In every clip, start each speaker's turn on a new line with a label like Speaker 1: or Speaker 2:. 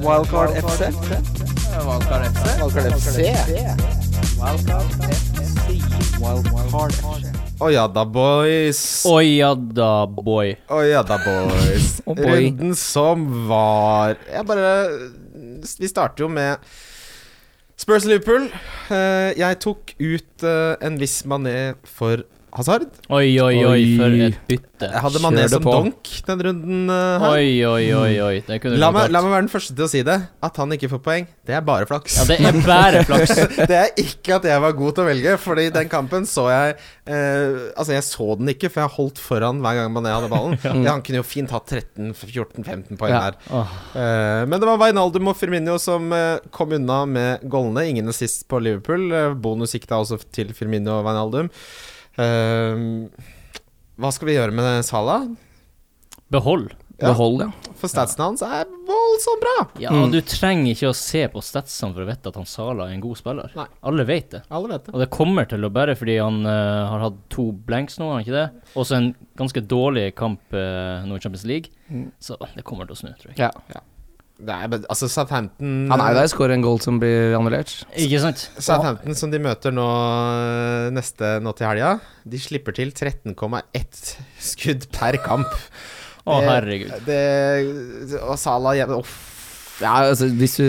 Speaker 1: Wildcard FC.
Speaker 2: Valgkar FC.
Speaker 1: Wildcard FC. Wildcard FC. Å ja da, boys.
Speaker 3: Oi ja da, boy.
Speaker 1: Å ja da, boys.
Speaker 3: Å, boy.
Speaker 1: Runden som var Jeg bare Vi starter jo med Spurs Liverpool. Eh, Jeg tok ut eh, en viss mané for Hazard.
Speaker 3: Oi, oi, oi,
Speaker 4: Oi.
Speaker 3: for et bytte.
Speaker 1: Jeg hadde mané
Speaker 4: Kjør det
Speaker 1: som
Speaker 4: på.
Speaker 1: donk den runden eh, her. Mm.
Speaker 3: Oi, oi, oi, oi. Det kunne
Speaker 1: La
Speaker 3: gått
Speaker 1: meg,
Speaker 3: godt.
Speaker 1: la meg være den første til å si det. At han ikke får poeng, det er bare flaks.
Speaker 3: Ja, det er bare flaks.
Speaker 1: det er ikke at jeg var god til å velge, Fordi den kampen så jeg eh, Altså, jeg så den ikke, for jeg holdt foran hver gang Mané hadde ballen. ja. Han kunne jo fint hatt 13-14-15 poeng
Speaker 4: Ja.
Speaker 1: her. Eh, men det var Wijnaldum og Firmino som eh, kom unna med gollene. Ingen assist på Liverpool. Eh, bonus gikk da også til Firmino og Wijnaldum. Eh, hva skal vi gjøre med Salah?
Speaker 3: Behold.
Speaker 1: Ja.
Speaker 4: Behold, ja.
Speaker 1: For statsen hans er voldsomt bra!
Speaker 3: Ja, du trenger ikke å se på statsene for å vite at han Sala er en god spiller.
Speaker 1: Nei.
Speaker 3: Alle vet det.
Speaker 1: Alle vet det.
Speaker 3: Og det kommer til å bare fordi han eh, har hatt to blanks nå, har han ikke det? Og så en ganske dårlig kamp eh, nå i Champions League.
Speaker 1: Mm.
Speaker 3: Så det kommer til å snu, tror jeg.
Speaker 4: ja.
Speaker 1: Nei, men altså Southampton
Speaker 4: Han er jo der, skårer en goal som blir annullert.
Speaker 3: Ikke sant?
Speaker 1: Southampton som de møter nå øh, neste nå til helga, de slipper til 13,1 skudd per kamp.
Speaker 3: Å, herregud.
Speaker 1: Det, og Salah hjemme Uff.
Speaker 4: Ja, altså, hvis du,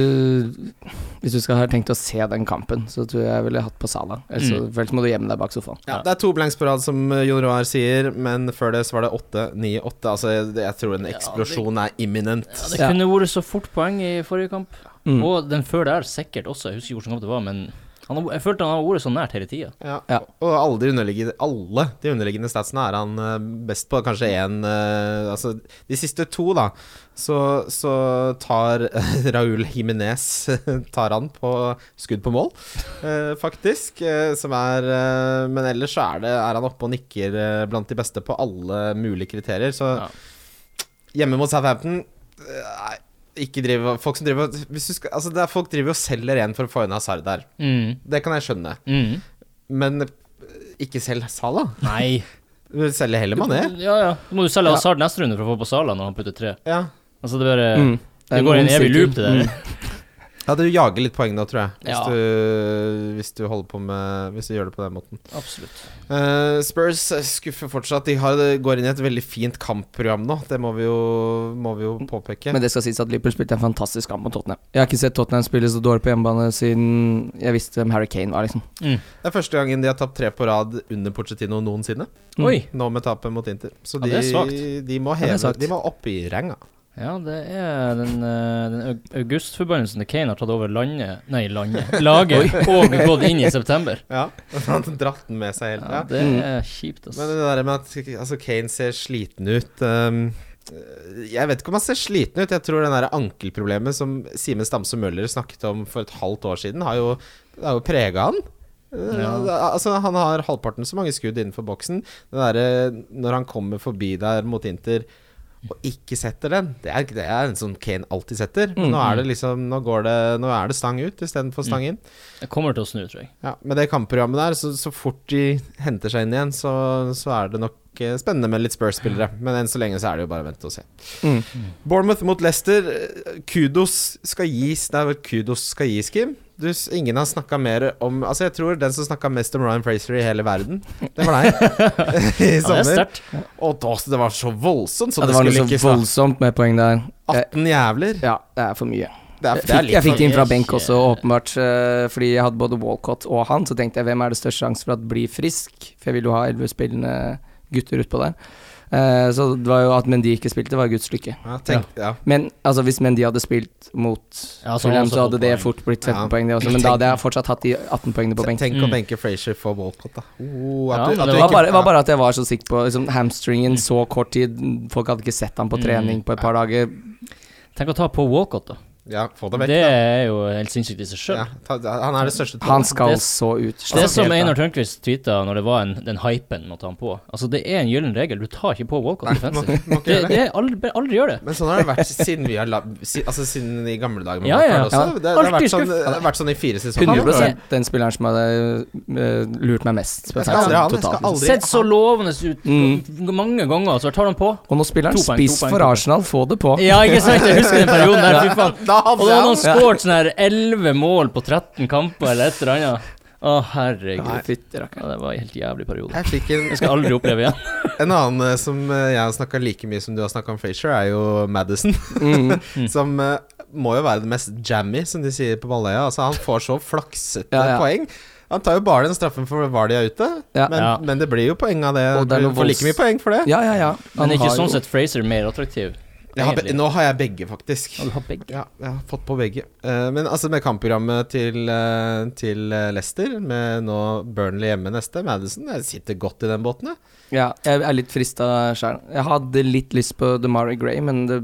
Speaker 4: hvis du skal ha tenkt å se den kampen, så tror jeg jeg ville hatt på Sala. Ellers så- ellers må du gjemme deg bak sofaen.
Speaker 1: Ja, det er to blanks på rad, som øh, Jon Roar sier, men før det så var det 8-9-8. Altså, det- jeg tror en eksplosjon er imminent.
Speaker 3: Ja, det
Speaker 4: Ja.
Speaker 3: kunne vært så fort poeng i forrige kamp.
Speaker 4: Mm.
Speaker 3: Og den før der sikkert også. Jeg husker ikke hvilken kamp det var, men han, har- jeg følte han har vært så nært hele tida.
Speaker 1: Ja.
Speaker 4: Ja.
Speaker 1: Og alle de, underliggende, alle de underliggende statsene er han eh, best på. Kanskje én eh, Altså, de siste to, da, så, så tar Raúl Jiménez Tar han på skudd på mål, eh, faktisk. eh, som er eh, Men ellers så er, det, er han oppe og nikker eh, blant de beste på alle mulige kriterier. Så
Speaker 3: Ja.
Speaker 1: hjemme mot Southampton eh, Nei, ikke drive Folk som driver hvis du skal, Altså, det er folk driver og selger en for å få inn Hazard der.
Speaker 3: Mm.
Speaker 1: Det kan jeg skjønne.
Speaker 3: Mm.
Speaker 1: Men eh, ikke selg Sala.
Speaker 3: Nei.
Speaker 1: Selg heller Mané.
Speaker 3: Ja, ja. Så må du selge Hazard neste runde for å få på Sala når han putter tre.
Speaker 1: Ja.
Speaker 3: Altså, det bare
Speaker 4: Mm.
Speaker 3: Det går i en
Speaker 4: ond
Speaker 3: evig
Speaker 4: sirkel.
Speaker 3: loop, det der.
Speaker 4: Mm.
Speaker 1: ja, du jager litt poeng nå, tror jeg. Hvis,
Speaker 3: Ja.
Speaker 1: du, hvis du holder på med Hvis du gjør det på den måten.
Speaker 3: Absolutt.
Speaker 1: Eh, Spurs skuffer fortsatt. De har, går inn i et veldig fint kampprogram nå. Det må vi jo, må vi jo påpeke.
Speaker 4: Men det skal sies at Liverpool spilte en fantastisk kamp mot Tottenham. Jeg har ikke sett Tottenham spille så dårlig på hjemmebane siden jeg visste hvem Harry Kane var, liksom.
Speaker 1: det er første gangen de har tapt tre på rad under Pochettino noensinne.
Speaker 4: Mm.
Speaker 3: Oi.
Speaker 1: Nå med tapet mot Inter. Så
Speaker 3: Ja,
Speaker 1: de,
Speaker 3: det er
Speaker 1: de må
Speaker 4: det er
Speaker 1: heve
Speaker 4: svakt.
Speaker 1: De må opp i renga.
Speaker 3: Ja, det er den, eh, den aug- augustforbannelsen til Kane har tatt over landet Nei, landet. Laget og gått inn i september.
Speaker 1: Ja. Han har dratt den med seg hele tida.
Speaker 3: Ja, det er kjipt,
Speaker 1: Men eh,
Speaker 3: altså.
Speaker 1: det der med at altså, Kane ser sliten ut ehm, Jeg vet ikke om han ser sliten ut. Jeg tror den der ankelproblemet som Simen Stamse Møller snakket om for et halvt år siden, har jo, det har jo prega han. Eh,
Speaker 3: Ja.
Speaker 1: Altså Han har halvparten så mange skudd innenfor boksen. Det derre når han kommer forbi der mot Inter og ikke setter den, det er, det er en som Kane alltid setter. Men nå er det liksom Nå, går det, nå er det stang ut istedenfor stang inn.
Speaker 3: Det kommer til å snu, tror jeg.
Speaker 1: Ja, Med det kampprogrammet der, så, så fort de henter seg inn igjen, så, så er det nok eh, spennende med litt Spurs-spillere. Men enn så lenge så er det jo bare å vente og se.
Speaker 4: Mm.
Speaker 1: Bournemouth mot Leicester. eh, Kudos skal gis. Det er vel kudos skal gis, Kim. Du, s- ingen har snakka mer om Altså, jeg tror den som snakka mest om Ryan Fraser i hele verden, det var deg. I
Speaker 3: Ja, det er
Speaker 1: sommer.
Speaker 3: sterkt.
Speaker 1: Og da, så det var så voldsomt som
Speaker 4: Ja, det
Speaker 1: det,
Speaker 4: var noe så
Speaker 1: skulle lykkes. da.
Speaker 4: voldsomt med poeng der. Jeg,
Speaker 1: 18 jævler.
Speaker 4: ja, det er for mye.
Speaker 1: Det
Speaker 4: Jeg
Speaker 1: er, det er
Speaker 4: fikk, jeg
Speaker 1: litt
Speaker 4: fikk det inn fra
Speaker 3: for-
Speaker 4: benk også, åpenbart. eh, Fordi jeg hadde både Walcott og han, så tenkte jeg hvem er det største sjanse for at blir frisk? For jeg vil jo ha elleve spillende gutter utpå der. Eh, Så det var jo at Mendy ikke spilte, var Guds lykke.
Speaker 1: ja, tenk, ja.
Speaker 4: Men altså, hvis Mendy hadde spilt mot
Speaker 3: Ja, så
Speaker 4: Fulham,
Speaker 3: han også
Speaker 4: så hadde
Speaker 3: fått
Speaker 4: det
Speaker 3: poeng.
Speaker 4: fort blitt 13
Speaker 1: Ja.
Speaker 4: poeng, det også. Men da hadde jeg fortsatt hatt de 18 poengene på benk.
Speaker 1: Tenk å
Speaker 3: Mm.
Speaker 1: benke Frazier for Walcott, da. Oh,
Speaker 3: Ja, men
Speaker 4: Det var, bare, det var bare at jeg var så sikker på liksom, hamstringen så kort tid. Folk hadde ikke sett
Speaker 3: Mm.
Speaker 4: ham på trening på et par dager.
Speaker 3: Tenk å ta på Walcott, da.
Speaker 1: Ja, få det vekk.
Speaker 3: Det er jo helt sinnssykt i seg sjøl.
Speaker 1: Ja, ta, han er det største
Speaker 4: Han skal
Speaker 3: Det-
Speaker 4: så ut.
Speaker 3: Det er som
Speaker 4: Altså, Helt
Speaker 3: Einar Tørnquist tweeta når det var en, den hypen måtte han på. Altså Det er en gyllen regel. Du tar ikke på Walcott
Speaker 1: må
Speaker 3: defensive.
Speaker 1: ikke
Speaker 3: Det,
Speaker 1: gjøre det.
Speaker 3: det er aldri, aldri gjør det.
Speaker 1: Men sånn har det vært siden vi har la, si, Altså siden i gamle dager. med
Speaker 3: Ja,
Speaker 1: Blackburn
Speaker 3: ja, ja.
Speaker 1: også. Det, det, har vært
Speaker 3: Alltid
Speaker 1: sånn, det har vært sånn i fire sesonger.
Speaker 4: 100 den spilleren som hadde øh, lurt meg mest. på
Speaker 1: Jeg skal aldri ha han, jeg
Speaker 4: totalt.
Speaker 1: skal aldri-
Speaker 3: Sett så lovende ut
Speaker 4: Mm.
Speaker 3: g- mange ganger, så jeg tar han på.
Speaker 4: Og nå spiller han
Speaker 3: To poeng,
Speaker 4: spiss
Speaker 3: to poeng,
Speaker 4: for
Speaker 3: to poeng.
Speaker 4: Arsenal, få det på.
Speaker 3: Ja, ikke sant? Jeg husker den perioden der. Fy faen.
Speaker 1: Da
Speaker 3: Og da hadde han skåret sånn her 11 mål på 13 kamper eller et eller annet. Å, herregud.
Speaker 4: Fytti rakkeren.
Speaker 3: Ja, det var en helt jævlig periode.
Speaker 1: Jeg fikk en,
Speaker 3: Det skal jeg aldri oppleve igjen.
Speaker 1: en annen eh, som eh, jeg har snakka like mye som du har snakka om Frazier, er jo Madison.
Speaker 4: Mm.
Speaker 3: Mm.
Speaker 1: som eh, må jo være det mest jammy, som de sier på Balløya. Altså, han får så flaksete
Speaker 4: Ja, ja.
Speaker 1: poeng. Han tar jo bare den straffen for var de er ute,
Speaker 4: Ja.
Speaker 1: men,
Speaker 3: Ja.
Speaker 1: men det blir jo poeng av det.
Speaker 4: Og det er
Speaker 1: Du
Speaker 4: noe
Speaker 1: får like
Speaker 4: volds-
Speaker 1: mye poeng for det.
Speaker 4: Ja, ja, ja. Han
Speaker 3: Men er ikke
Speaker 4: har
Speaker 3: sånn
Speaker 4: jo-
Speaker 3: sett Fraser mer attraktiv?
Speaker 1: Jeg har be
Speaker 3: egentlig?
Speaker 1: nå har jeg begge, faktisk.
Speaker 3: Ja, du har begge.
Speaker 1: Ja, jeg har fått på begge. Eh, men altså med kampprogrammet til, eh, til eh, Leicester, med nå Burnley hjemme neste, Madison, jeg sitter godt i den båten, jeg.
Speaker 4: Ja, jeg er litt frista sjøl. Jeg hadde litt lyst på Demari Gray, men det,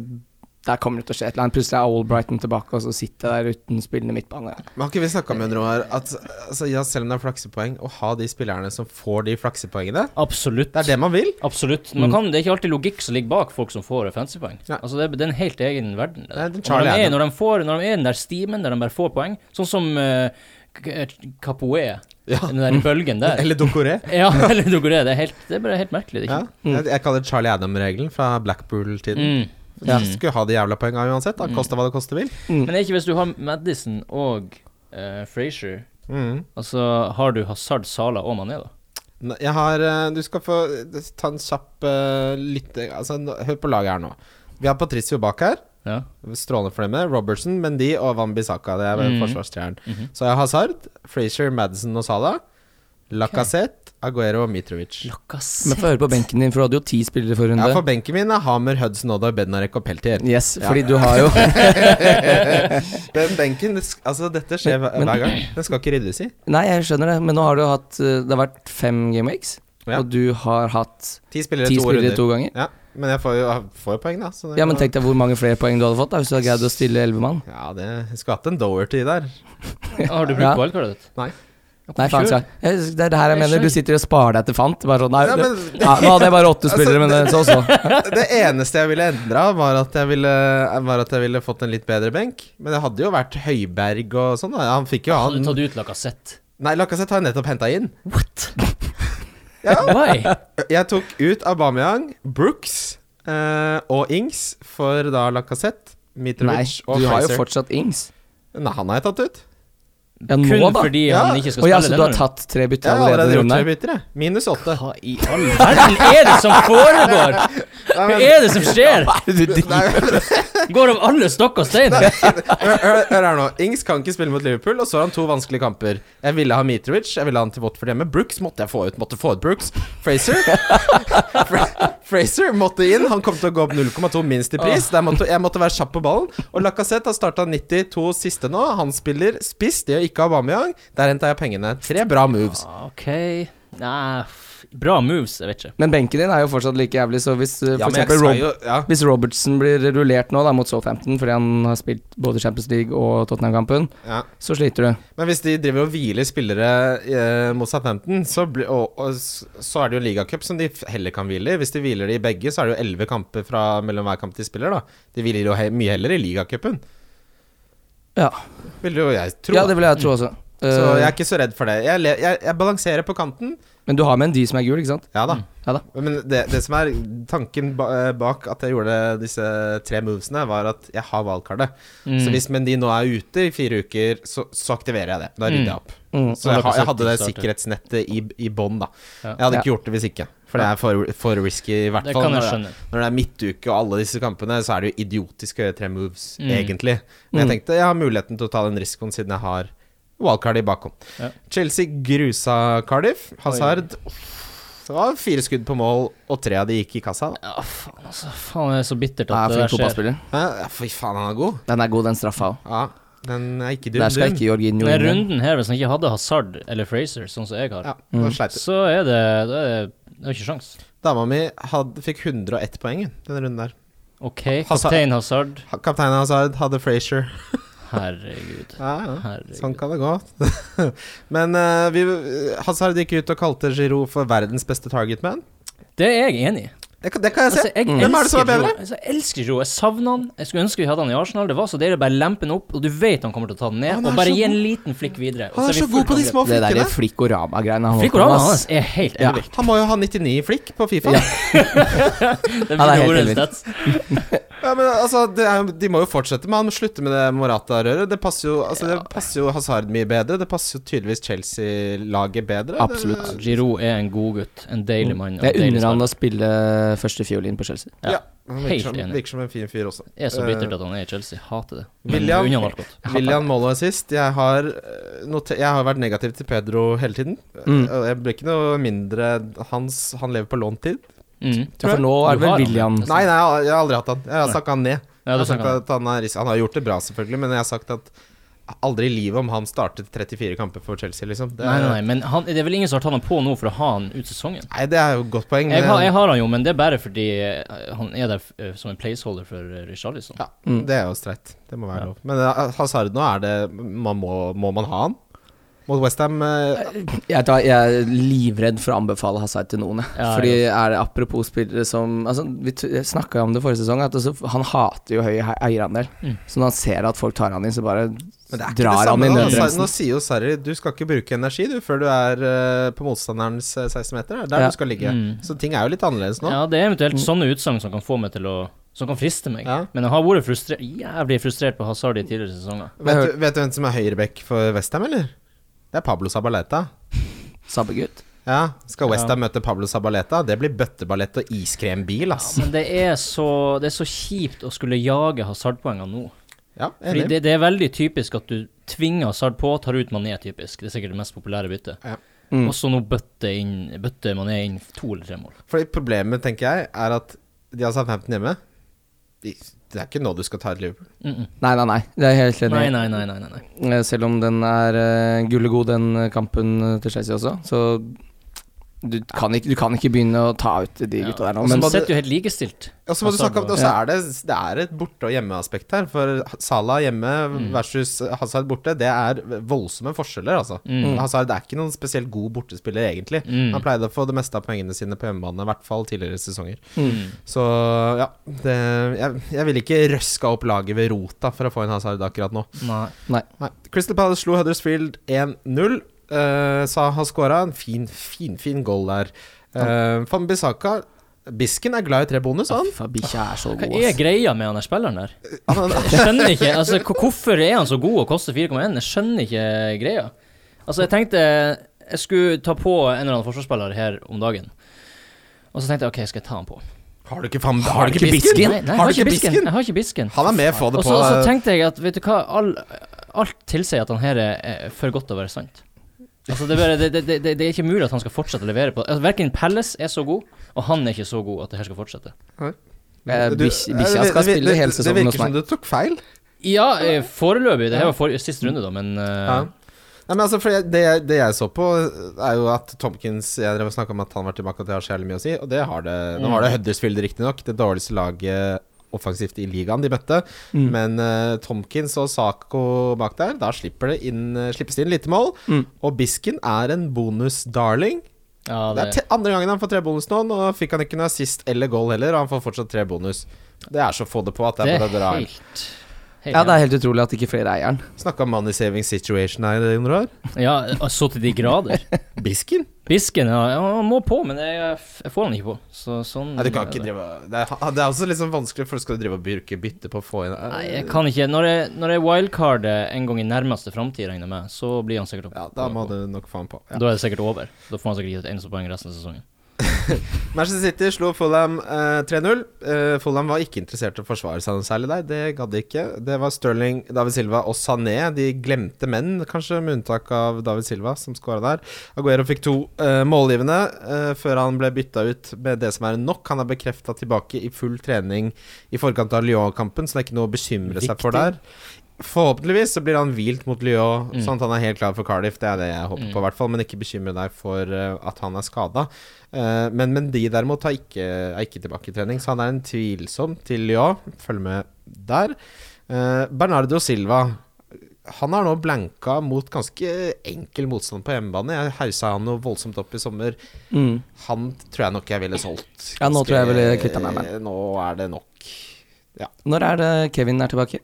Speaker 4: der kommer det til å skje et eller annet. Plutselig er Old Brighton tilbake, og så sitter jeg der uten spillende midtbane.
Speaker 1: Men har ikke vi snakka med noe her at altså, ja, selv om det er flaksepoeng, å ha de spillerne som får de flaksepoengene,
Speaker 3: Absolutt.
Speaker 1: det er det man vil.
Speaker 3: Absolutt. Mm. Man kan, det er ikke alltid logikk som ligger bak folk som får fancypoeng.
Speaker 1: Nei.
Speaker 3: Altså, det, er- det er en helt egen verden. det der.
Speaker 1: Nei, det er
Speaker 3: Og
Speaker 1: Charlie
Speaker 3: når, de er,
Speaker 1: Adam.
Speaker 3: når, de får, når de er i den der stimen der de bare får poeng, sånn som eh, K- Capoe,
Speaker 1: Ja.
Speaker 3: den der bølgen der
Speaker 1: Eller Dokoré.
Speaker 3: Ja, eller noe det. Det er, helt, det er bare helt merkelig. Det er
Speaker 1: Ja.
Speaker 3: ikke?
Speaker 1: Jeg, jeg kaller det Charlie Adam-regelen fra Blackpool-tiden.
Speaker 3: Mm.
Speaker 1: De Skulle ha de jævla poenga uansett, da, kosta hva det koste vil.
Speaker 3: Men det er ikke hvis du har Madison og uh, Frazier
Speaker 1: Mm.
Speaker 3: Altså, har du Hazard, Sala og Mané, da?
Speaker 1: Nei, Jeg har eh, Du skal få eh, ta en kjapp eh, lytte... Altså, nå- hør på laget her nå. Vi har Patricio bak her.
Speaker 3: Ja.
Speaker 1: Strålende for dem. Robertson, Mendy og Van Bissaka. Det er vel
Speaker 3: Mhm.
Speaker 1: forsvarstreeren. Så jeg har Hazard, Frazier, Madison og Salah. Lacassette, Aguero og Mitrovic.
Speaker 4: Men få høre på benken din, for du hadde jo ti spillere for runde.
Speaker 1: Ja, for benken min er Hamer, Hudson, Odoi, Bednarek og Peltier.
Speaker 4: Yes, fordi du har jo
Speaker 1: Den benken det sk- Altså, dette skjer hver-
Speaker 4: Men- men-
Speaker 1: hver gang. Den skal ikke ryddes i.
Speaker 4: Nei, jeg skjønner det, men nå har du hatt eh, Det har vært fem gameweeks,
Speaker 1: Ja.
Speaker 4: og du har hatt
Speaker 1: Ti spillere,
Speaker 4: ti
Speaker 1: to
Speaker 4: spillere
Speaker 1: runder.
Speaker 4: to ganger.
Speaker 1: Ja, men jeg får jo, jeg får jo poeng, da. Så det-
Speaker 4: Ja, men tenk deg hvor mange flere poeng du hadde fått da hvis du hadde greid å stille elleve mann.
Speaker 1: Ja, det jeg skulle hatt en Doherty der.
Speaker 3: Har du brukt
Speaker 4: Ja.
Speaker 3: wildcardet ditt?
Speaker 1: Nei.
Speaker 4: Nei, faen skal jeg jeg- Det er det her jeg
Speaker 3: Nei,
Speaker 4: mener. Du
Speaker 3: skjønn.
Speaker 4: sitter og sparer deg til fant. Bare sånn, nei,
Speaker 1: Ja,
Speaker 4: det-
Speaker 1: men-
Speaker 4: ja, nå hadde jeg bare åtte
Speaker 1: Altså,
Speaker 4: spillere, men det- så så.
Speaker 1: Det eneste jeg ville endra, var, at jeg ville- var at jeg ville fått en litt bedre benk. Men det hadde jo vært Høiberg og sånn. da. Han fikk jo
Speaker 4: Ah,
Speaker 3: Hadde du
Speaker 1: han
Speaker 3: tatt ut Lacassette?
Speaker 1: Nei, Lacassette har jeg nettopp henta inn.
Speaker 3: Why?
Speaker 1: Jeg tok ut Aubameyang, Brooks eh, og Ings for da Lacassette,
Speaker 4: Nei,
Speaker 1: Mitrovic og
Speaker 4: du har jo
Speaker 1: Fraser.
Speaker 4: fortsatt Ings.
Speaker 1: Nei, han har jeg tatt ut.
Speaker 4: Ja, nå,
Speaker 3: Kun
Speaker 4: da.
Speaker 3: fordi
Speaker 1: Ja.
Speaker 3: han ikke skal
Speaker 4: Å ja,
Speaker 3: spille
Speaker 4: så du
Speaker 3: denne
Speaker 4: har
Speaker 3: runden.
Speaker 4: tatt tre bytter
Speaker 1: Jeg har
Speaker 4: allerede i
Speaker 1: allerede gjort tre
Speaker 4: runden? her?
Speaker 1: bytter, jeg. Minus åtte.
Speaker 3: Hva i all verden er det som foregår?!
Speaker 1: Nei,
Speaker 3: Hva
Speaker 1: men-
Speaker 3: er det som skjer?!
Speaker 1: Nei, men-
Speaker 3: Går av alle stokk og stein!
Speaker 1: Hør hør- hør her nå. Ings kan ikke spille mot Liverpool, og så har han to vanskelige kamper. Jeg ville ha Mitrovic, jeg ville ha han til Watford hjemme. Brooks måtte jeg få ut. Måtte få ut Brooks. Fraser Fra- Fraser måtte inn. Han kom til å gå opp 0,2 minst i pris. Der måtte, jeg måtte være kjapp på ballen. Og Lacassette har starta 92 siste nå. Han spiller spiss, det gjør ikke Aubameyang. Der henta jeg pengene. Tre bra moves.
Speaker 3: Ah, OK Nei, f- bra moves, jeg vet ikke.
Speaker 4: Men benken din er jo fortsatt like jævlig, så hvis uh, for
Speaker 1: men jeg
Speaker 4: eksempel
Speaker 1: skal
Speaker 4: Rob
Speaker 1: jo- ja.
Speaker 4: hvis Robertson blir rullert nå da mot Southampton fordi han har spilt både Champions League og Tottenham-kampen,
Speaker 1: Ja.
Speaker 4: så sliter du.
Speaker 1: Men hvis de driver og hviler spillere eh, mot Southampton, så, blir- og, og, s- så er det jo ligacup som de f- heller kan hvile i. Hvis de hviler de i begge, så er det jo elleve kamper fra mellom hver kamp de spiller, da. De hviler jo he mye heller i ligacupen,
Speaker 4: Ja,
Speaker 1: vil jo jeg tro.
Speaker 4: ja
Speaker 1: da.
Speaker 4: det vil jeg tro også.
Speaker 1: Så
Speaker 4: Uh,
Speaker 1: jeg er ikke så redd for det. Jeg, le jeg, jeg balanserer på kanten.
Speaker 4: Men du har med en de som er gul, ikke sant?
Speaker 1: Ja da.
Speaker 4: Ja da.
Speaker 1: Men det, det som er tanken ba eh, bak at jeg gjorde disse tre movesene, var at jeg har valgkartet. Så
Speaker 3: Mm.
Speaker 1: hvis Mendy nå er ute i fire uker, så, så aktiverer jeg det. Da rydder jeg opp.
Speaker 4: Mm.
Speaker 1: Så jeg, ha- jeg hadde det
Speaker 3: Starter.
Speaker 1: sikkerhetsnettet i, i bånn, da.
Speaker 3: Ja.
Speaker 1: Jeg hadde
Speaker 4: Ja.
Speaker 1: ikke gjort det hvis ikke. For det er for, for risky, i hvert
Speaker 3: Det
Speaker 1: fall.
Speaker 3: kan jeg
Speaker 1: Når det,
Speaker 3: skjønne.
Speaker 1: når det er midtuke og alle disse kampene, så er det jo idiotisk å gjøre tre moves,
Speaker 3: Mm.
Speaker 1: egentlig. Men jeg
Speaker 4: Mm.
Speaker 1: tenkte jeg har muligheten til å ta den risikoen siden jeg har wildcard i bakhånd.
Speaker 3: Ja.
Speaker 1: Chelsea grusa Cardiff. Hazard Det var fire skudd på mål, og tre av de gikk i kassa. Da.
Speaker 3: Ja, faen, altså. Faen, det er så bittert
Speaker 4: Jeg
Speaker 3: at
Speaker 4: er
Speaker 3: det
Speaker 4: flink
Speaker 3: der skjer.
Speaker 4: fotballspiller.
Speaker 1: Ja, Fy faen, han er god.
Speaker 4: Den er god, den straffa òg.
Speaker 1: Ja, den er ikke dum.
Speaker 4: Der skal
Speaker 1: dum.
Speaker 4: ikke Jorginho
Speaker 3: Den
Speaker 4: inn. igjen.
Speaker 3: runden her, hvis han ikke hadde Hazard eller Fraser, sånn som jeg har,
Speaker 1: Ja, nå sleit jeg.
Speaker 3: så er det Det er, det er ikke sjans.
Speaker 1: Dama mi hadde, fikk 101 poeng denne runden der.
Speaker 3: OK,
Speaker 1: Hazard-
Speaker 3: kaptein Hazard.
Speaker 1: Kapteinen Hazard hadde Frazier.
Speaker 3: Herregud.
Speaker 1: Ja, ja. Sånn
Speaker 3: Herregud.
Speaker 1: kan det gå. Men eh, vi, Hazard gikk ut og kalte Giroud for verdens beste targetman.
Speaker 3: Det er jeg enig i.
Speaker 1: Det, kan- det kan
Speaker 4: Altså,
Speaker 1: jeg se.
Speaker 3: Altså, jeg
Speaker 4: mm.
Speaker 1: Hvem er det som er
Speaker 3: elsker
Speaker 1: bedre?
Speaker 3: Giroud. Altså, jeg elsker Giroud. Jeg savner han. Jeg skulle ønske vi hadde han i Arsenal. Det var så deilig å bare lempe han opp, og du vet han kommer til å ta den ned.
Speaker 1: Han er
Speaker 3: Og bare
Speaker 1: så
Speaker 3: gi en
Speaker 1: god.
Speaker 3: liten flikk videre. og
Speaker 1: Han
Speaker 3: så
Speaker 1: er
Speaker 3: vi
Speaker 1: så god
Speaker 3: fullt
Speaker 1: på de
Speaker 3: angrep.
Speaker 1: små
Speaker 4: altså, Det der
Speaker 1: flikkene.
Speaker 4: flikkorama-greiene han holdt på
Speaker 3: Flikkorama
Speaker 4: med, ass.
Speaker 3: hans er helt
Speaker 4: Ja.
Speaker 3: ellevilt.
Speaker 1: Han må jo ha 99 i flikk på Fifa.
Speaker 4: Ja.
Speaker 3: Det
Speaker 4: Ja, det er helt
Speaker 3: blir årets
Speaker 4: ellevilt.
Speaker 3: stats.
Speaker 1: Ja, men altså, det er, jo- De må jo fortsette med han slutte med det Morata-røret. Det passer jo altså, det passer jo Hazard mye bedre. Det passer jo tydeligvis Chelsea-laget bedre.
Speaker 4: Absolutt.
Speaker 1: Det,
Speaker 3: Giroud er en god gutt. En deilig mann. og
Speaker 4: Jeg
Speaker 3: en deilig
Speaker 4: unner han
Speaker 3: spiller.
Speaker 4: å spille førstefiolin på Chelsea.
Speaker 1: ja. han
Speaker 3: Helt
Speaker 1: virker, som,
Speaker 3: enig.
Speaker 1: virker som en fin fyr også.
Speaker 3: Jeg er så bittert
Speaker 1: Eh,
Speaker 3: at han er i Chelsea. Hater det.
Speaker 1: William-
Speaker 3: Men unner han alt godt.
Speaker 1: William Mollo er sist. Jeg har, eh, noter, jeg har vært negativ til Pedro hele tiden.
Speaker 4: Mm.
Speaker 1: Og Jeg blir ikke noe mindre hans, Han lever på lånt tid.
Speaker 3: Mm.
Speaker 4: Ja, for nå er
Speaker 3: Du
Speaker 4: det vel
Speaker 3: har han.
Speaker 4: William
Speaker 3: Nesten.
Speaker 1: Nei, nei, jeg har- jeg har aldri hatt han. Jeg har
Speaker 3: Nei.
Speaker 1: snakka han ned. jeg
Speaker 3: Ja, du
Speaker 1: har
Speaker 3: snakker
Speaker 1: snakket
Speaker 3: om
Speaker 1: at han, er, han har gjort det bra, selvfølgelig, men jeg har sagt at aldri i livet om han startet 34 kamper for Chelsea, liksom. Det,
Speaker 3: Nei, nei, nei, men han, det er vel ingen som har tatt han på nå for å ha han ut sesongen.
Speaker 1: Nei, det er jo et godt poeng.
Speaker 3: Jeg
Speaker 1: men-
Speaker 3: har, jeg har han jo, men det er bare fordi eh, han er der f- eh, som en placeholder for eh, Richarlison.
Speaker 1: Ja,
Speaker 4: Mm.
Speaker 1: det er jo streit. Det må være
Speaker 3: Ja.
Speaker 1: lov. Men eh, Hazard nå er det man må, må man ha han? Mot Westham uh,
Speaker 4: Jeg, tar, jeg er livredd for å anbefale Hazard til noen. jeg.
Speaker 3: Ja,
Speaker 4: Fordi er det apropos spillere som altså, Vi snakka jo om det forrige sesong, at altså, han hater jo høy he- eierandel.
Speaker 3: Mm.
Speaker 4: Så når han ser at folk tar han inn, så bare
Speaker 1: Men det er ikke det
Speaker 4: drar han
Speaker 1: samme.
Speaker 4: i
Speaker 1: da. altså. Sarri- Nå
Speaker 4: nødbremsen.
Speaker 1: sier jo Sarri du skal ikke bruke energi du før du er eh, på motstanderens eh, 16 meter. Det er der
Speaker 4: Ja.
Speaker 1: du skal ligge.
Speaker 3: Mm.
Speaker 1: Så ting er jo litt annerledes nå.
Speaker 3: Ja, det er eventuelt sånne utsagn som kan få meg til å Som kan friste meg.
Speaker 1: Ja.
Speaker 3: Men jeg har vært frustre- jævlig frustrert på Hazard i tidligere sesonger.
Speaker 1: Vet, du, vet du hvem som er høyreback for Westham, eller? Det er Pablo Sabaleta.
Speaker 4: Sabbegutt.
Speaker 1: Ja, Skal Westham
Speaker 3: Ja.
Speaker 1: møte Pablo Sabaleta? Det blir bøtteballett og iskrembil, ass.
Speaker 3: Men det er så, det er så kjipt å skulle jage Hazard-poengene nå.
Speaker 1: Ja,
Speaker 3: Fordi
Speaker 1: enig.
Speaker 3: det, det er veldig typisk at du tvinger Hazard på, tar ut Mané typisk. Det er sikkert det mest populære byttet.
Speaker 1: Ja.
Speaker 4: Mm.
Speaker 3: Og så nå bøtter inn- bøtter Mané inn to eller tre mål.
Speaker 1: Fordi problemet, tenker jeg, er at de har Southampton hjemme. De, det er ikke nå du skal ta et Liverpool.
Speaker 3: Mm -mm.
Speaker 4: Nei, nei, nei. Det er jeg helt enig.
Speaker 3: Nei,
Speaker 4: i.
Speaker 3: nei, nei, nei, nei, nei.
Speaker 4: Eh, Selv om den er uh, gullegod, den eh, kampen eh, til Chelsea også, så du kan ikke, du kan ikke begynne å ta ut de
Speaker 3: Ja.
Speaker 4: gutta der nå.
Speaker 1: Og så
Speaker 3: Men
Speaker 4: Men
Speaker 1: må du-
Speaker 3: de sitter jo helt likestilt.
Speaker 1: Og så må du
Speaker 3: Hazard
Speaker 1: snakke om
Speaker 3: og-
Speaker 1: Og så er det, det er et borte- og hjemmeaspekt her. For Salah hjemme
Speaker 3: Mm.
Speaker 1: versus Hazard borte, det er voldsomme forskjeller, altså.
Speaker 3: Mm.
Speaker 1: Hazard er ikke noen spesielt god bortespiller, egentlig.
Speaker 3: Mm.
Speaker 1: Han pleide å få det meste av poengene sine på hjemmebane, i hvert fall tidligere sesonger.
Speaker 3: Mm.
Speaker 1: Så ja, det, jeg, jeg ville ikke røska opp laget ved rota for å få en Hazard akkurat nå.
Speaker 3: Nei.
Speaker 1: Nei. Crystal Palace slo Huddersfield 1-0. Eh, Sa har skåra en fin, fin, fin goal der. Uh, Van Bissaka Bisken er glad i tre bonus, han.
Speaker 4: Fy faen, bikkja er så
Speaker 3: Hva
Speaker 4: god,
Speaker 3: er
Speaker 4: ass.
Speaker 3: greia med han der spilleren der?
Speaker 1: Eh, han, han
Speaker 3: Jeg skjønner ikke altså, hvor- Hvorfor er han så god og koster 4,1? Jeg skjønner ikke greia. Altså, jeg tenkte jeg skulle ta på en eller annen forsvarsspiller her om dagen. Og så tenkte jeg OK, skal jeg ta han på?
Speaker 1: Har du ikke, fan, har du
Speaker 4: ikke Bisken?
Speaker 3: Nei, nei jeg har ikke bisken. Jeg har ikke bisken.
Speaker 1: Han er med, få det
Speaker 3: Og
Speaker 1: på. eh,
Speaker 3: så og så tenkte jeg at vet du hva, all, alt tilsier at han her er, er for godt til å være sant. Altså, det, er bare, det, det, det, det er ikke mulig at han skal fortsette å levere på altså, Verken Pelles er så god, og han er ikke så god at det her skal fortsette.
Speaker 4: Eh,
Speaker 1: Du-
Speaker 4: bis-
Speaker 1: eh,
Speaker 4: Bikkja
Speaker 1: det-
Speaker 4: skal
Speaker 1: det-
Speaker 4: spille hele
Speaker 1: det-
Speaker 4: sesongen
Speaker 1: Det
Speaker 4: hos
Speaker 1: virker som
Speaker 4: meg.
Speaker 1: du tok feil.
Speaker 3: Ja, eh, foreløpig. Det her var for, siste runde, da, men eh,
Speaker 1: Ja. Nei, men altså, for jeg, det, jeg- det jeg så på, eh, er jo at Tomkins Jeg drev og snakka om at han var tilbake, og det har så jævlig mye å si, og det har det. Nå var det Huddersfield, riktignok, det dårligste laget offensivt i ligaen de møtte,
Speaker 4: Mm.
Speaker 1: men eh, Tomkins og Sako bak der, da slipper det inn, eh, slippes det inn lite mål,
Speaker 4: Mm.
Speaker 1: og Bisken er en bonus-darling.
Speaker 3: ja,
Speaker 1: Det er te- andre gangen han får tre bonus nå. Nå fikk han ikke noe assist eller goal heller, og han får fortsatt tre bonus. Det er så få det på at det er bare å dra inn.
Speaker 3: helt, helt
Speaker 4: Ja, det er helt utrolig at ikke flere eier den.
Speaker 1: Snakka om money saving situation her, Jon Roar.
Speaker 3: Ja, så til de grader.
Speaker 1: Bisken?
Speaker 3: Bisken ja, ja, han må på, men jeg, jeg får han ikke på. Så sånn
Speaker 1: Nei, du kan
Speaker 3: er
Speaker 1: ikke
Speaker 3: det.
Speaker 1: drive Det er, det er også litt sånn vanskelig, for du skal drive og bruke bytte på å få inn
Speaker 3: Nei, jeg kan ikke. Når jeg, når jeg wildcarder en gang i nærmeste framtid, regner jeg med, så blir han sikkert opp.
Speaker 1: Ja, da må du nok få han på. Ja.
Speaker 3: Da er det sikkert over. Da får han sikkert gitt et eneste poeng resten av sesongen.
Speaker 1: Manchester City slo Fulham eh, 3-0. Eh, Fulham var ikke interessert i å forsvare seg noe særlig der. Det gadd de ikke. Det var Sterling, David Silva og Sané. De glemte menn, kanskje, med unntak av David Silva, som skåra der. Aguero fikk to eh, målgivende eh, før han ble bytta ut med det som er nok. Han er bekrefta tilbake i full trening i forkant av Lyon-kampen, så det er ikke noe å bekymre
Speaker 3: Viktig.
Speaker 1: seg for der. Forhåpentligvis så blir han hvilt mot Lyon,
Speaker 3: Mm.
Speaker 1: sånn at han er helt klar for Cardiff. Det er det jeg håper
Speaker 3: Mm.
Speaker 1: på, i hvert fall. Men ikke bekymre deg for eh, at han er skada. Eh, men, men de derimot har ikke, er ikke tilbake i trening, så han er en tvilsom til Lyon. Følg med der. Eh, Bernardo Silva Han har nå blanka mot ganske enkel motstand på hjemmebane. Jeg hausa han noe voldsomt opp i sommer.
Speaker 4: Mm.
Speaker 1: Han tror jeg nok jeg ville solgt.
Speaker 4: Ja, nå
Speaker 1: Ganske-
Speaker 4: tror jeg jeg ville kvittet meg med
Speaker 1: Nå er det nok.
Speaker 4: Når er det Kevin er tilbake?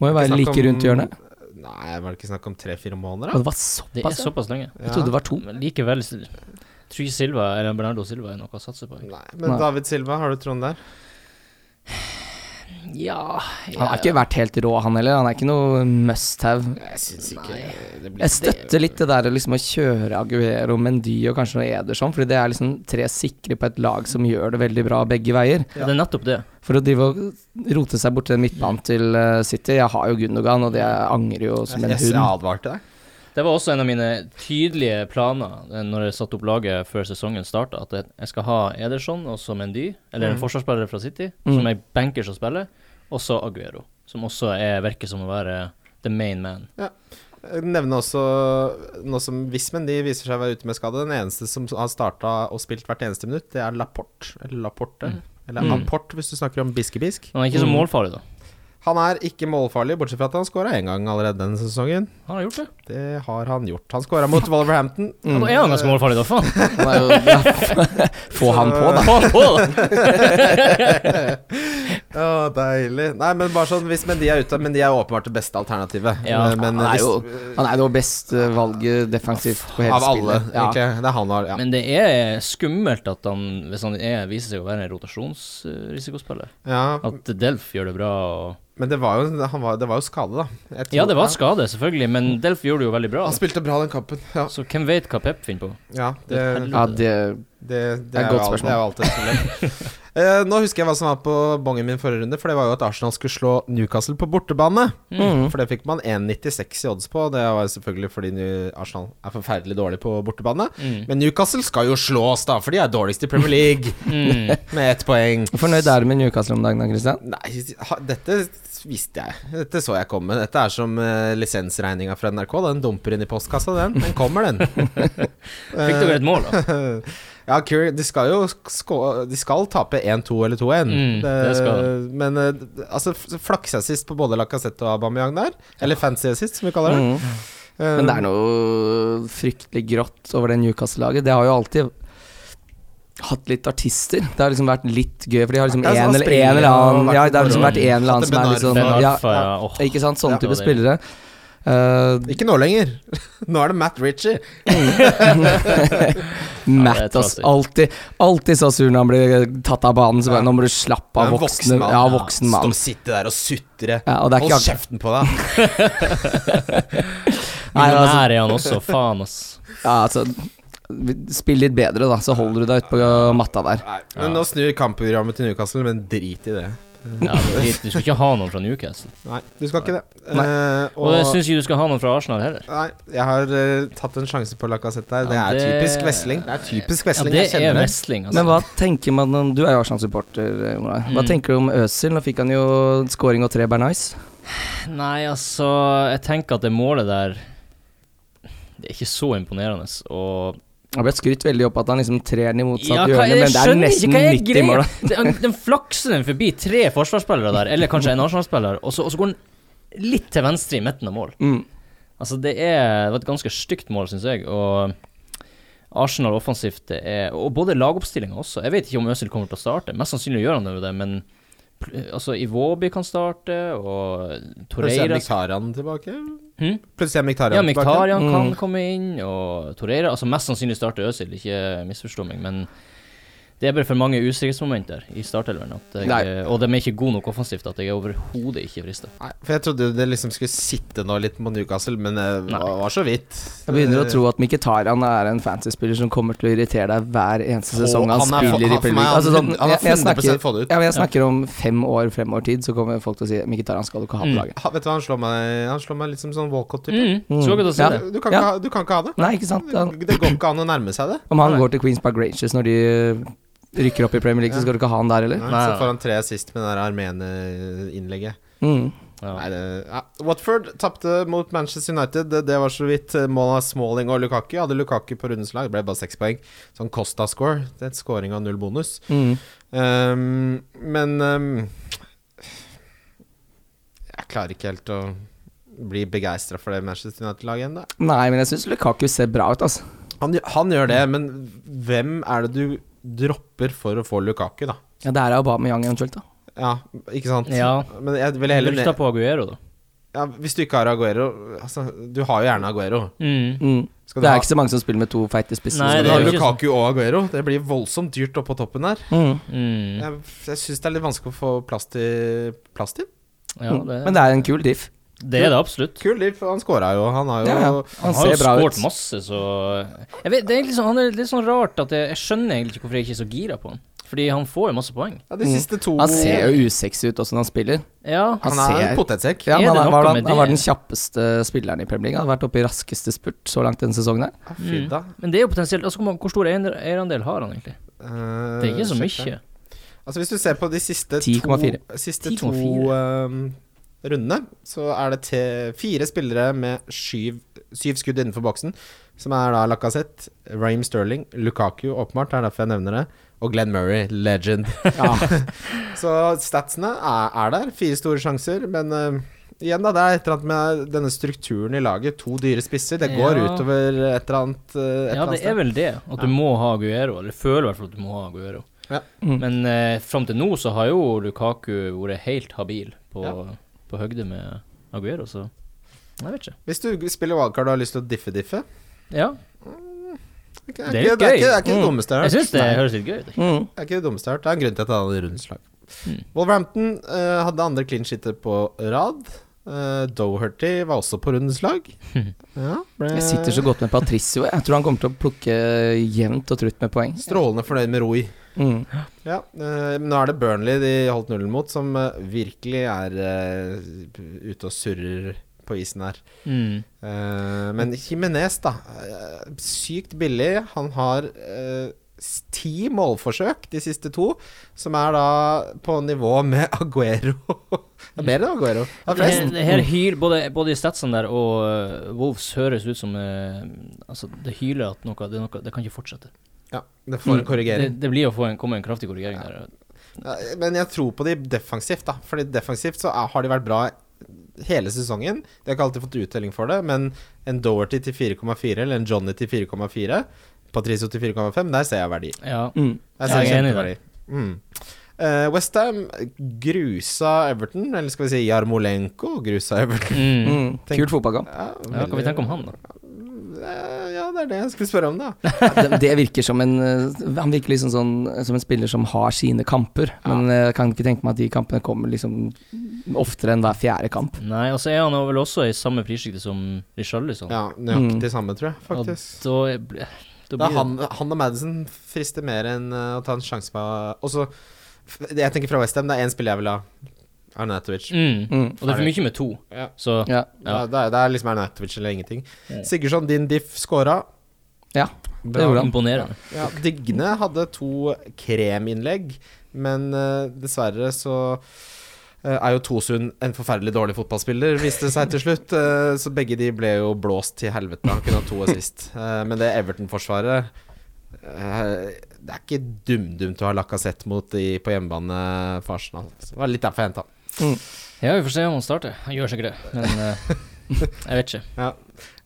Speaker 4: Må jo være
Speaker 1: Snakk
Speaker 4: like
Speaker 1: om-
Speaker 4: rundt hjørnet.
Speaker 1: Nei, var det ikke snakk om tre-fire måneder, da?
Speaker 4: Og det var
Speaker 3: Det er
Speaker 4: såpass, ja.
Speaker 3: såpass lenge.
Speaker 4: Jeg trodde det var to.
Speaker 3: Men likevel s- tror ikke Silva eller Bernardo Silva er noe å satse på.
Speaker 1: Nei, men
Speaker 4: Nei.
Speaker 1: David Silva, har du troen der?
Speaker 3: Ja,
Speaker 4: Han har ikke vært helt rå, han heller. Han er ikke noe must-have.
Speaker 1: Jeg syns ikke det blir
Speaker 4: Jeg støtter litt det der å liksom å kjøre Aguero, Mendy og kanskje noe Ederson, fordi det er liksom tre sikre på et lag som gjør det veldig bra begge veier.
Speaker 3: Ja, Det er nettopp det.
Speaker 4: For å drive og rote seg bort til midtbanen til eh, City Jeg har jo Gundogan, og det angrer jo som en
Speaker 1: Jeg- Jeg
Speaker 4: hund.
Speaker 1: advarte deg.
Speaker 3: Det var også en av mine tydelige planer eh, når jeg satte opp laget før sesongen starta, at jeg- jeg skal ha Ederson og så Mendy, eller en
Speaker 1: Mm.
Speaker 3: forsvarsspiller fra City,
Speaker 4: Mm.
Speaker 3: som jeg benker som spiller, og så Aguero, som også er, virker som å være the main man.
Speaker 1: Nevne også noe som Vismen de viser seg å være ute med skade. Den eneste som har starta og spilt hvert eneste minutt, det er Laporte. Eller Laporte. Eller
Speaker 3: Mm.
Speaker 1: Apport, hvis du snakker om biskebisk.
Speaker 3: Han er ikke så
Speaker 4: Mm.
Speaker 3: målfarlig, da.
Speaker 1: Han er ikke målfarlig, bortsett fra at han skåra én gang allerede denne sesongen.
Speaker 3: Han har gjort det.
Speaker 1: Det har han gjort. Han skåra mot Wolverhampton.
Speaker 3: Ja, da er Mm. han ganske målfarlig, da. Faen.
Speaker 4: Han er jo- ja, Få han på, da.
Speaker 3: Faen på, da.
Speaker 1: Å, deilig. Nei, men bare sånn hvis Men de er ute, men de er jo åpenbart det beste alternativet.
Speaker 3: Ja,
Speaker 4: han
Speaker 1: men eh,
Speaker 4: er
Speaker 1: hvis-
Speaker 4: jo- Han er jo best eh, valget defensivt på hele
Speaker 1: av alle,
Speaker 4: spillet. Ja.
Speaker 1: egentlig. Det er han har ja.
Speaker 3: Men det er skummelt at han, hvis han er, viser seg å være en rotasjonsrisikospiller,
Speaker 1: ja.
Speaker 3: at Delf gjør det bra og
Speaker 1: Men det var jo, han var, det var jo skade, da. Jeg tror-
Speaker 3: Ja, det var skade, selvfølgelig, men Delf gjorde det jo veldig bra.
Speaker 1: Han spilte bra den kampen. Ja,
Speaker 3: Så hvem vet hva Pep finner på?
Speaker 1: ja
Speaker 3: Et
Speaker 1: det
Speaker 3: helvete.
Speaker 4: Ja, det,
Speaker 1: Det, det,
Speaker 4: Det er
Speaker 1: er,
Speaker 4: et
Speaker 1: jo
Speaker 4: godt
Speaker 1: alt, det
Speaker 4: spørsmål.
Speaker 1: er jo alltid et problem. Eh, nå husker jeg hva som var på bongen min forrige runde, for det var jo at Arsenal skulle slå Newcastle på bortebane.
Speaker 4: mm.
Speaker 1: For det fikk man 1,96 i odds på, og det var jo selvfølgelig fordi New- Arsenal er forferdelig dårlig på bortebane.
Speaker 3: Mm.
Speaker 1: Men Newcastle skal jo slås, da, for de er dårligst i Premier League
Speaker 3: Mm.
Speaker 1: med ett poeng.
Speaker 4: Fornøyd er du med Newcastle om dagen da, Christian?
Speaker 1: Nei, ha- dette visste jeg. Dette så jeg komme. Dette er som uh, lisensregninga fra NRK. Den dumper inn i postkassa, den. Den kommer, den. Eh,
Speaker 3: Fikk dere et mål, da?
Speaker 1: ja, Curry, de skal jo skå- De skal tape 1-2 eller 2-1.
Speaker 3: Mm, det skal de.
Speaker 1: Men eh, altså, f- flaksa sist på både Lacassette og Aubameyang der. Eller fancy assist, som vi kaller det.
Speaker 4: Mm. Men det er noe fryktelig grått over det Newcastle-laget. Det har jo alltid hatt litt artister. Det har liksom vært litt gøy, for de har liksom
Speaker 1: Ja, det er
Speaker 4: en
Speaker 1: sånn
Speaker 4: eller,
Speaker 1: Asprey
Speaker 4: en eller
Speaker 1: og
Speaker 4: annen Ja, det har
Speaker 1: Martin
Speaker 4: liksom vært en eller annen som er litt
Speaker 1: Hatte
Speaker 4: sånn
Speaker 1: Ben
Speaker 3: Ben
Speaker 4: ja,
Speaker 3: Arfa, ja. Åh.
Speaker 4: Ikke sant?
Speaker 3: Ja.
Speaker 4: Sånne type
Speaker 3: Det var
Speaker 4: spillere. Eh,
Speaker 1: Ikke nå lenger. nå er det Matt Ritchie.
Speaker 3: det
Speaker 4: Matt,
Speaker 3: er
Speaker 4: ass.
Speaker 3: trasig.
Speaker 4: Alltid, alltid så sur når han blir tatt av banen. Så
Speaker 1: Ja.
Speaker 4: bare, nå må du slappe av,
Speaker 1: En
Speaker 4: voksne,
Speaker 1: mann.
Speaker 4: ja, voksen mann.
Speaker 1: Stå sitte der og sutre.
Speaker 4: Ja, og det er
Speaker 1: Hold
Speaker 4: ikke ak-
Speaker 1: kjeften på deg.
Speaker 4: Nei, altså,
Speaker 3: Millionær er han også, faen, ass.
Speaker 4: ja, altså, spill litt bedre, da, så holder du deg utpå matta der.
Speaker 1: Nei, Men nå snur kampprogrammet til Newcastle, men drit i det.
Speaker 3: Ja, drit, du skal ikke ha noen fra Newcastle.
Speaker 1: Nei, du skal ikke det.
Speaker 4: Nei.
Speaker 1: Eh,
Speaker 3: Og jeg syns ikke du skal ha noen fra Arsenal heller.
Speaker 1: Nei, jeg har eh, tatt en sjanse på Lacassette der.
Speaker 3: Ja,
Speaker 1: det
Speaker 3: det-
Speaker 1: er typisk Wesling. Det er typisk
Speaker 3: Ja,
Speaker 1: Wesling.
Speaker 3: det
Speaker 1: jeg
Speaker 3: er
Speaker 1: kjenner det.
Speaker 3: wrestling,
Speaker 4: Men
Speaker 3: altså.
Speaker 4: hva tenker man om Du er jo Arsenal-supporter, Ola. Hva
Speaker 3: Mm.
Speaker 4: tenker du om Øzil? Nå fikk han jo scoring og tre Bernais.
Speaker 3: Nei, altså, jeg tenker at det målet der Det er ikke så imponerende, og
Speaker 4: Han ble skrytt veldig opp at han liksom trer den i motsatt
Speaker 3: Ja, hva-
Speaker 4: hjørne, men det er nesten
Speaker 3: er
Speaker 4: midt i mål. da.
Speaker 3: greia? Den- Den flakser den forbi tre forsvarsspillere der, eller kanskje en Arsenal-spiller, og, så- og så går den litt til venstre i midten av mål.
Speaker 4: Mm.
Speaker 3: Altså, det, er, det var et ganske stygt mål, syns jeg. Og Arsenal offensivt det er Og både lagoppstillinga også. Jeg vet ikke om Øzil kommer til å starte. Mest sannsynlig gjør han jo det, men pl- altså, Iwobi kan starte, og
Speaker 1: Plutselig er
Speaker 3: Torreira
Speaker 1: Mkhitaryan tilbake.
Speaker 3: Hm?
Speaker 1: Plutselig er
Speaker 3: Ja,
Speaker 1: Mkhitaryan tilbake.
Speaker 3: Miktarian kan
Speaker 4: Mm.
Speaker 3: komme inn, og Torreira Altså, mest sannsynlig starter Øzil, ikke misforstå meg, men det er bare for mange usikkerhetsmomenter i startelveren. at
Speaker 4: Nei.
Speaker 3: jeg- Og de er ikke gode nok offensivt at jeg er overhodet ikke frista.
Speaker 1: Nei, for jeg trodde det liksom skulle sitte nå litt på Newcastle, men det
Speaker 3: Nei.
Speaker 1: var, var så vidt. Eh,
Speaker 4: Jeg begynner å tro at Mkhitaryan er en fantasy-spiller som kommer til å irritere deg hver eneste
Speaker 1: Å,
Speaker 4: sesong han,
Speaker 1: han er-
Speaker 4: spiller i
Speaker 1: han- for
Speaker 4: Premier
Speaker 1: meg,
Speaker 4: League. Altså, sånn,
Speaker 1: han er
Speaker 4: jeg, jeg,
Speaker 1: 100%
Speaker 4: snakker,
Speaker 1: få det ut.
Speaker 4: ja, men jeg snakker om fem år, fem år tid, så kommer folk til å si Mkhitaryan skal du ikke ha på
Speaker 3: Mm.
Speaker 4: laget.
Speaker 1: Ha, vet du hva, han slår meg Han slår meg litt som sånn Walcott-type.
Speaker 3: Mm. Så godt å si
Speaker 4: Ja.
Speaker 3: det.
Speaker 1: Du, kan
Speaker 4: Ja.
Speaker 1: ikke ha- du kan ikke ha det.
Speaker 4: Nei, ikke sant? Han,
Speaker 1: Det går ikke an å nærme seg det.
Speaker 4: om han
Speaker 3: Nei.
Speaker 4: går til Queens Park Rangers når de rykker opp i Premier League, så skal du ikke ha han der
Speaker 1: Nei,
Speaker 4: heller.
Speaker 3: Nei.
Speaker 1: så får han tre sist med det der Armene-innlegget.
Speaker 4: Mm.
Speaker 3: Ja.
Speaker 1: Nei, det, ja. Watford tapte mot Manchester United. Det, det var så vidt eh, mål av Smalling og Lukaku. Hadde Lukaku på rundens lag, det ble bare seks poeng. Sånn Costa-score. Det er et scoring av null bonus.
Speaker 4: Mm.
Speaker 1: Ehm, men ehm, Jeg klarer ikke helt å bli begeistra for det Manchester United-laget ennå.
Speaker 4: Nei, men jeg syns Lukaku ser bra ut, altså.
Speaker 1: Han, gjør- han gjør det, men hvem er det du dropper for å få Lukaku, da?
Speaker 4: Ja, det er Aubameyang eventuelt, da.
Speaker 1: Ja, ikke sant?
Speaker 3: Ja.
Speaker 1: Men jeg ville heller
Speaker 3: Lukta
Speaker 1: ned
Speaker 3: på Aguero, da.
Speaker 1: ja, Hvis du ikke har Aguero altså, Du har jo gjerne Aguero.
Speaker 3: Mm.
Speaker 4: Mm.
Speaker 1: Skal du
Speaker 4: Det
Speaker 1: ha,
Speaker 4: er ikke så mange som spiller med to feite spisser.
Speaker 3: Nei,
Speaker 4: så
Speaker 1: skal
Speaker 3: det
Speaker 1: du ha
Speaker 3: er jo ikke
Speaker 1: Lukaku og Aguero? Det blir voldsomt dyrt oppå toppen der.
Speaker 4: Mm.
Speaker 3: Mm.
Speaker 1: Jeg, jeg syns det er litt vanskelig å få plass til Plass til?
Speaker 3: Ja,
Speaker 4: Mm.
Speaker 3: det,
Speaker 4: Men det er en kul diff.
Speaker 3: det er det absolutt.
Speaker 1: Kul liv, han scora jo. Han har jo
Speaker 4: Ja, ja.
Speaker 3: Han,
Speaker 4: Han
Speaker 3: har jo
Speaker 4: ser bra ut.
Speaker 3: skåret masse, så jeg vet, det er egentlig sånn, Han er litt sånn rart at jeg, jeg skjønner egentlig ikke hvorfor jeg ikke er så gira på han. Fordi han får jo masse poeng.
Speaker 1: Ja, de siste to
Speaker 4: Han ser jo usexy ut også når han spiller.
Speaker 3: Ja,
Speaker 1: Han
Speaker 4: han
Speaker 1: er
Speaker 4: ser-
Speaker 1: en potetsekk.
Speaker 4: Ja,
Speaker 3: Er
Speaker 4: men
Speaker 3: det
Speaker 4: han,
Speaker 3: noe
Speaker 4: var,
Speaker 3: med
Speaker 4: han,
Speaker 3: det?
Speaker 4: han var den kjappeste spilleren i Premier League. Han har vært oppe i raskeste spurt så langt denne sesongen. her
Speaker 1: Ja, fy da.
Speaker 3: men det er jo potensielt altså, hvor mange- Hvor stor eier- eierandel har han egentlig?
Speaker 1: Eh,
Speaker 3: Det er ikke så
Speaker 1: sjekk
Speaker 3: mye.
Speaker 1: det. Altså Hvis du ser på de siste
Speaker 4: 10,4.
Speaker 1: to, siste to
Speaker 3: 10,4.
Speaker 1: ehm, rundene, så er det te- fire spillere med syv, syv skudd innenfor boksen, som er da Lacassette, Raheem Sterling, Lukaku, åpenbart, det er derfor jeg nevner det, og Glenn Murray, legend. så statsene er, er der. Fire store sjanser, men eh, Igjen da, Det er et eller annet med denne strukturen i laget. To dyre spisser. Det går
Speaker 3: Ja.
Speaker 1: utover et eller annet. eh, Et
Speaker 3: Ja,
Speaker 1: eller annet
Speaker 3: det er vel det. At du
Speaker 1: Ja.
Speaker 3: må ha Aguero, eller føler i hvert fall at du må ha Aguero.
Speaker 1: Ja.
Speaker 4: Mm.
Speaker 3: Men eh, fram til nå så har jo Lukaku vært helt habil på,
Speaker 1: Ja.
Speaker 3: på høgde med Aguero, så jeg vet ikke.
Speaker 1: Hvis du spiller wildcard og har lyst til å diffe-diffe
Speaker 3: Ja,
Speaker 1: Det
Speaker 3: Det er litt
Speaker 1: ikke- Det
Speaker 3: gøy.
Speaker 1: er ikke det dummeste jeg har
Speaker 3: jeg
Speaker 1: hørt.
Speaker 3: syns det
Speaker 1: Nei.
Speaker 3: høres litt gøy ut.
Speaker 4: Mm.
Speaker 1: Det er ikke det dummeste jeg har hørt. Det er en grunn til at han hadde rundens lag.
Speaker 3: Mm.
Speaker 1: Wolverhampton eh, hadde andre clean shitter på rad. Uh, Doherty var også på rundens lag. Ja, ble
Speaker 4: Jeg sitter så godt med Patricio. Jeg tror han kommer til å plukke jevnt og trutt med poeng.
Speaker 1: Strålende fornøyd med Roy.
Speaker 4: Mm.
Speaker 1: Ja, eh, men nå er det Burnley de holdt nullen mot, som eh, virkelig er eh, ute og surrer på isen her.
Speaker 3: Mm.
Speaker 1: Eh, men Jimenez, da. eh, sykt billig. Han har eh, s- ti målforsøk, de siste to, som er da på nivå med Aguero. det er mer enn Aguero. Det er
Speaker 3: Det,
Speaker 1: flest.
Speaker 3: det her hyl, både, både i statsene der og eh, Wolves høres ut som eh, Altså, det hyler at noe Det, er noe, det kan ikke fortsette.
Speaker 1: Ja, det får en
Speaker 3: Det,
Speaker 1: korrigering.
Speaker 3: det blir å få en, komme en kraftig korrigering der.
Speaker 1: Ja, Men jeg tror på de defensivt, da. Fordi defensivt så er, har de vært bra hele sesongen. De har ikke alltid fått uttelling for det, men en Doherty til 4,4 eller en Johnny til 4,4, Patricio til 4,5, der ser jeg verdi.
Speaker 3: Ja.
Speaker 4: Mm.
Speaker 1: Jeg
Speaker 3: Ja,
Speaker 1: ser
Speaker 3: jeg er enig i
Speaker 1: kjempeverdi. Mm. Eh, West Ham grusa Everton, eller skal vi si Jarmolenko grusa Everton.
Speaker 3: Mm.
Speaker 4: Mm.
Speaker 1: Tenk-
Speaker 4: Kult fotballkamp.
Speaker 1: Ja,
Speaker 3: ja. Hva vi tenker om han, da?
Speaker 1: Eh, Ja, det er det jeg skulle spørre om, da.
Speaker 4: Det, det virker som en eh, Han virker liksom sånn som en spiller som har sine kamper. Men eh, jeg kan ikke tenke meg at de kampene kommer liksom oftere enn hver fjerde kamp.
Speaker 3: Nei, og så er han jo vel også i samme prissjikte som Richarlison.
Speaker 1: Ja, Nøyaktig samme, tror jeg, faktisk.
Speaker 3: Og da, er- bl- da
Speaker 1: Da
Speaker 3: Mm. blir
Speaker 1: han, han og Madison frister mer enn eh, å ta en sjanse på Også, f- det jeg tenker fra West Ham det er én spiller jeg vil ha. Arnautovic.
Speaker 3: det mm.
Speaker 4: Mm.
Speaker 3: Og det er for mye med to,
Speaker 1: Ja.
Speaker 3: så
Speaker 4: Ja.
Speaker 1: Ja. Det, er, det er liksom Arnautovic eller ingenting.
Speaker 3: Ja.
Speaker 1: Sigurdsson, din diff scora.
Speaker 4: Ja,
Speaker 1: Bra.
Speaker 4: gjorde han.
Speaker 3: imponerende.
Speaker 1: Ja, Digne hadde to kreminnlegg, men eh, dessverre så eh, er jo Tosund en forferdelig dårlig fotballspiller, viste det seg til slutt. eh, så begge de ble jo blåst til helvete. Han kunne ha to assist. Uh, men det Everton-forsvaret eh, Det er ikke dumdumt å ha Lacassette mot de på hjemmebane for Arsenal. Så Det var litt derfor jeg henta han.
Speaker 3: Ja, vi får se om han starter. Han gjør sikkert det, men eh, jeg vet ikke.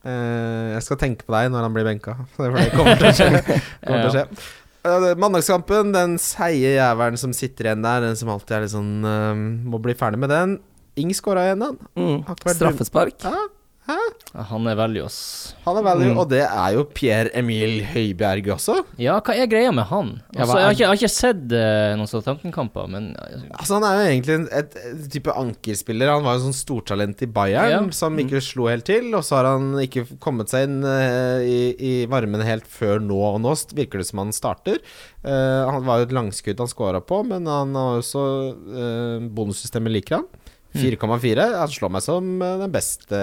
Speaker 1: Eh, jeg skal tenke på deg når han blir benka. For det kommer til å skje. Kommer til å skje. Eh, Mandagskampen, den seige jævelen som sitter igjen der, den som alltid er litt sånn eh, Må bli ferdig med den. Ing skåra igjen, han.
Speaker 4: Mm.
Speaker 1: Har ikke vært
Speaker 4: Straffespark.
Speaker 1: Ja,
Speaker 3: Ja, Han er veldig oss.
Speaker 1: han er value,
Speaker 4: Mm.
Speaker 1: og det er jo Pierre Emil Høibjerg også.
Speaker 3: Ja, hva er greia med han?
Speaker 4: Ja,
Speaker 3: Altså,
Speaker 4: hva
Speaker 3: jeg,
Speaker 4: er-
Speaker 3: har ikke, jeg har ikke sett eh, noen Southampton-kamper, men eh,
Speaker 1: Altså Han er jo egentlig en et, et type ankerspiller. Han var jo sånn stortalent i Bayern
Speaker 3: Ja. Mm.
Speaker 1: som ikke slo helt til, og så har han ikke kommet seg inn eh, i, i varmen helt før nå, og nå st- virker det som han starter. Eh, han var jo et langskudd han scora på, men han har også uh, bonussystemet liker han.
Speaker 3: Mm.
Speaker 1: 4,4. Han slår meg som eh, den beste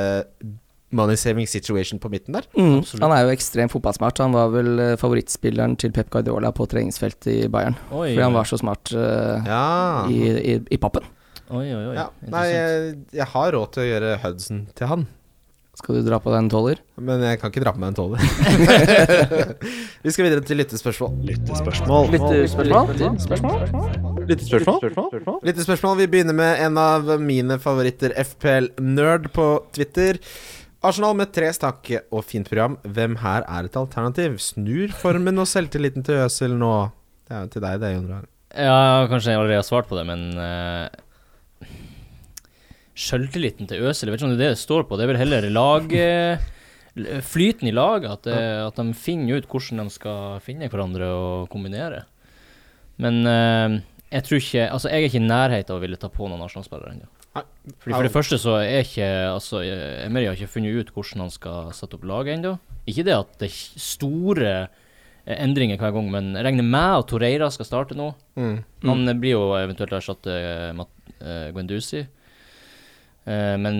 Speaker 1: money saving situation på midten der.
Speaker 4: Mm.
Speaker 3: Absolutt.
Speaker 4: Han er jo ekstremt fotballsmart. Han var vel eh, favorittspilleren til Pep Guardiola på treningsfeltet i Bayern.
Speaker 3: Oi,
Speaker 4: Fordi han var så smart eh,
Speaker 1: Ja.
Speaker 4: i, i, i pappen.
Speaker 3: oi, oi. oi.
Speaker 1: ja. Nei,
Speaker 3: Interessant.
Speaker 1: jeg, jeg har råd til å gjøre Hudson til han.
Speaker 4: Skal du dra på den tolver?
Speaker 1: Men jeg kan ikke dra på meg en tolver. Vi skal videre til lyttespørsmål. Lyttespørsmål. Lyttespørsmål. Vi begynner med en av mine favoritter, FPL Nerd, på Twitter. Arsenal med tre stakke og fint program. Hvem her er et alternativ? Snur formen og selvtilliten til Øsel nå. Det er jo til deg, det, Jon Roar.
Speaker 3: Ja, kanskje jeg allerede har svart på det, men eh, sjøltilliten til Øsil. Jeg vet ikke om det er det det står på. Det er vel heller lag... eh, l- Flyten i laget, at, det- at de finner ut hvordan de skal finne hverandre og kombinere. Men eh, jeg tror ikke Altså, jeg er ikke i nærheten av å ville ta på noen nasjonalspillere ennå.
Speaker 1: Nei.
Speaker 3: Fordi For det første så er ikke Altså, eh, Emery har ikke funnet ut hvordan han skal sette opp laget ennå. Ikke det at det er store eh, endringer hver gang, men jeg regner med at Torreira skal starte nå.
Speaker 1: Mm.
Speaker 3: Han eh, blir jo eventuelt erstatte eh, Mat- eh, Guendouzi. Eh, men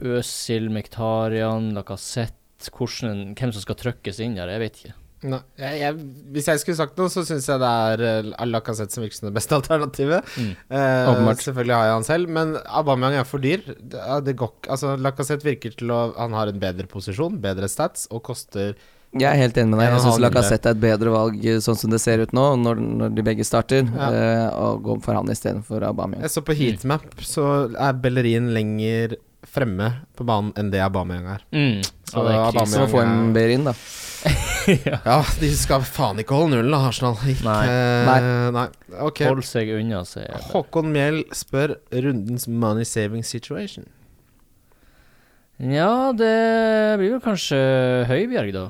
Speaker 3: Øsil, Mektarian, Lacassette hvordan, Hvem som skal trykkes inn der, jeg vet ikke.
Speaker 1: Nei, jeg, jeg, hvis jeg skulle sagt noe, så syns jeg det er uh, Lacassette som virker som det beste alternativet.
Speaker 3: Mm.
Speaker 1: Eh,
Speaker 4: Åpenbart.
Speaker 1: selvfølgelig har jeg han selv, men Aubameyang er for dyr. Det, ja, det går, ikke- altså, Lacassette virker til å Han har en bedre posisjon, bedre stats, og koster
Speaker 4: Jeg er helt enig med deg.
Speaker 1: En
Speaker 4: Jeg
Speaker 1: og en
Speaker 4: syns
Speaker 1: halv
Speaker 4: Lacassette er et bedre valg eh, sånn som det ser ut nå, når, når de begge starter,
Speaker 1: Ja.
Speaker 4: eh, og gå for han istedenfor Aubameyang.
Speaker 1: Jeg så på heatmap, så er Bellerin lenger fremme på banen enn det Aubameyang er.
Speaker 3: Mm.
Speaker 1: Så
Speaker 3: ja, det er
Speaker 1: Aubameyang-
Speaker 3: krise.
Speaker 4: Så få en
Speaker 1: Aubameyang
Speaker 4: bedre inn, da.
Speaker 1: Ja, de skal faen ikke holde nullen, da, Arsenal. Ikke,
Speaker 3: Nei.
Speaker 1: eh, nei. Ok.
Speaker 3: Hold seg unna, sier jeg. bare.
Speaker 1: Håkon Mjell spør rundens money saving situation.
Speaker 3: Ja, det blir vel kanskje Høibjerg, da.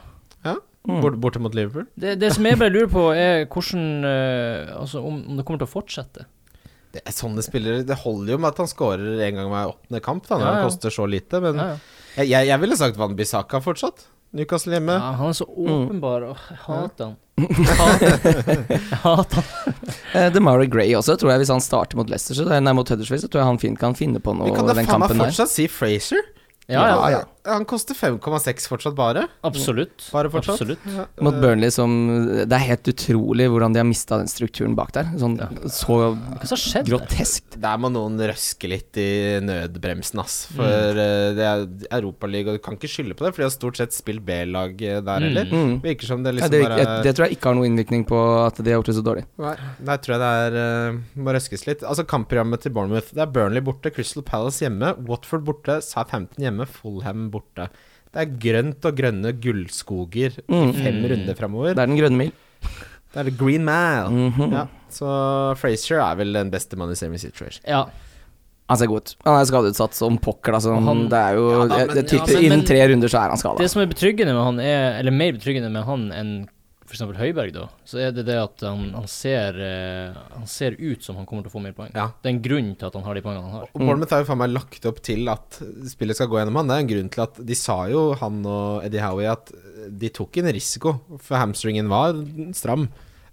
Speaker 1: Bort, borte mot Liverpool.
Speaker 3: Det, det som jeg bare lurer på, er hvordan eh, Altså om, om det kommer til å fortsette.
Speaker 1: Det er sånne spillere Det holder jo med at han skårer en gang hver åttende kamp, da, når
Speaker 3: Ja, ja.
Speaker 1: han koster så lite. Men
Speaker 3: Ja, ja.
Speaker 1: jeg, jeg, jeg ville sagt Van Bissaka fortsatt. Newcastle hjemme.
Speaker 3: ja, Mm. han er så åpenbar. Åh, jeg hater han. Jeg hater jeg hater han.
Speaker 4: Eh, Demary Gray også, tror jeg. Hvis han starter mot Leicester, så, nei, mot Huddersfield, så tror jeg han fint kan finne på
Speaker 1: Vi
Speaker 4: noe
Speaker 1: kan da
Speaker 4: den
Speaker 1: faen meg
Speaker 4: kampen der.
Speaker 1: fortsatt si Frazier.
Speaker 3: Ja, ja.
Speaker 1: Ja, ja. Han koster 5,6 fortsatt bare.
Speaker 3: Absolutt.
Speaker 1: Bare fortsatt.
Speaker 3: Absolutt.
Speaker 1: Ja.
Speaker 4: Mot Burnley som Det er helt utrolig hvordan de har mista den strukturen bak der. Sånn så
Speaker 3: Hva som har skjedd? der?
Speaker 4: grotesk.
Speaker 1: Der må noen røske litt i nødbremsen, ass. For eh, det er Europaligaen, og du kan ikke skylde på det, for de har stort sett spilt B-lag eh, der
Speaker 3: Mm.
Speaker 1: heller.
Speaker 4: Mm.
Speaker 1: Virker som det
Speaker 4: Ja,
Speaker 1: liksom
Speaker 4: det,
Speaker 1: bare
Speaker 4: jeg, det tror jeg ikke har noen innvirkning på at de har gjort det så dårlig.
Speaker 1: Nei, Der tror jeg det er eh, må røskes litt. Altså Kampprogrammet til Bournemouth. Det er Burnley borte, Crystal Palace hjemme, Watford borte, Southampton hjemme, Fulham borte. Det er grønt og grønne gullskoger i fem
Speaker 3: Mm.
Speaker 1: runder
Speaker 4: Det
Speaker 1: framover.
Speaker 4: er den grønne mil.
Speaker 1: Det er the green man.
Speaker 4: Mhm.
Speaker 1: Ja, så Frazier er vel den beste man i semi situation.
Speaker 3: Ja.
Speaker 4: Han ser god ut. Han er skadeutsatt som pokker, da. Så
Speaker 3: Og han-
Speaker 4: det er jo
Speaker 1: Ja da,
Speaker 4: jeg-
Speaker 1: men-
Speaker 4: jeg tipper
Speaker 3: ja, men-
Speaker 4: Innen tre runder så er han skada.
Speaker 3: Det som er betryggende med han, er, eller mer betryggende med han enn f.eks. Høiberg, da, så er det det at han, han, ser, eh, han ser ut som han kommer til å få mer poeng.
Speaker 1: Ja.
Speaker 3: Det er en grunn til at han har de poengene han har.
Speaker 1: Og Bournemouth har jo faen meg lagt opp til at spillet skal gå gjennom han. Det er en grunn til at de sa jo, han og Eddie Howie, at de tok en risiko, for hamstringen var stram.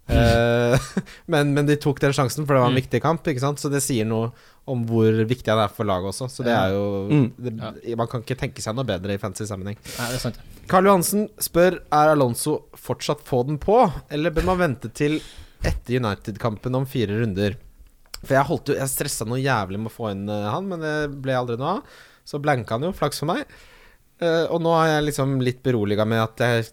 Speaker 1: Eh, men, men de tok den sjansen, for det var en
Speaker 3: Mm.
Speaker 1: viktig kamp. Ikke sant? Så det sier noe om hvor viktig han er for laget også. Så det
Speaker 3: Ja.
Speaker 1: er jo
Speaker 4: Mm.
Speaker 1: det, Man kan ikke tenke seg noe bedre i fancy sammenheng.
Speaker 3: Nei, det er sant.
Speaker 1: Karl Johansen spør Er Alonso fortsatt få den på, eller bør man vente til etter United-kampen om fire runder? For jeg holdt jo Jeg stressa noe jævlig med å få inn eh, han, men det ble aldri noe av. Så blanka han jo, flaks for meg. Eh, og nå er jeg liksom litt beroliga med at jeg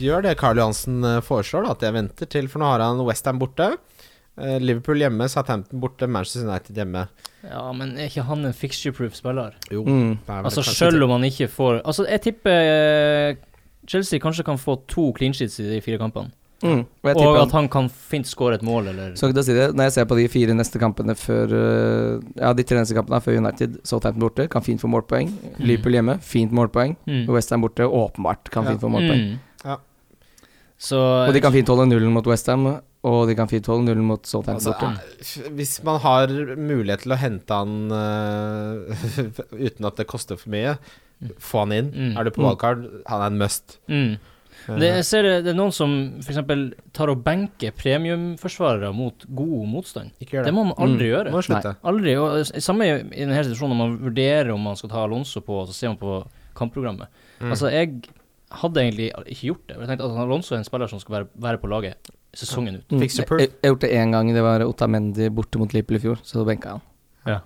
Speaker 1: gjør det Karl Johansen eh, foreslår, da, at jeg venter til, for nå har han Westham borte. eh, Liverpool hjemme, Southampton borte, Manchester United hjemme.
Speaker 3: Ja, men er ikke han en fixture-proof spiller?
Speaker 1: Jo,
Speaker 4: Mm.
Speaker 1: det er vel
Speaker 3: Altså,
Speaker 1: kanskje
Speaker 3: sjøl om han ikke får Altså, jeg tipper eh, Chelsea kanskje kan få to clean sheets i de fire kampene.
Speaker 4: Mm. Og jeg
Speaker 3: Og,
Speaker 4: tipper han
Speaker 3: at han kan fint skåre et mål, eller
Speaker 4: Så ikke til å si det, Når jeg ser på de fire neste kampene før øh, Ja, de tre neste kampene er før United, Southampton borte, kan fint få målpoeng. Liverpool hjemme, fint målpoeng.
Speaker 3: Mm.
Speaker 4: Og Westham borte, åpenbart kan
Speaker 1: Ja.
Speaker 4: fint få målpoeng.
Speaker 3: Mm.
Speaker 1: Ja.
Speaker 3: Så
Speaker 4: Og de kan fint holde nullen mot Westham, og de kan fint holde nullen mot Southampton
Speaker 1: Altså,
Speaker 4: borte.
Speaker 1: eh, hvis man har mulighet til å hente han eh, uten at det koster for mye, få han inn.
Speaker 3: Mm.
Speaker 1: Er du på
Speaker 4: Mm.
Speaker 1: wildcard, han er en must. Eh,
Speaker 3: mm. Det, jeg ser det, det er noen som f.eks. tar og benker premiumforsvarere mot god motstand.
Speaker 1: Ikke gjør
Speaker 3: Det
Speaker 1: det. Mm.
Speaker 3: må man aldri gjøre.
Speaker 1: Må slutte.
Speaker 3: Aldri. Og s- samme i i denne situasjonen når man vurderer om man skal ta Alonso på, så ser man på kampprogrammet.
Speaker 1: Mm.
Speaker 3: Altså, jeg hadde egentlig ikke gjort det. Jeg tenkte at Alonso er en spiller som skal være, være på laget sesongen ut.
Speaker 4: Mm.
Speaker 1: Fix your
Speaker 4: Jeg,
Speaker 1: proof.
Speaker 4: jeg, jeg gjorde det én gang, det var Otamendi borte mot Liverpool i fjor, så benka jeg han.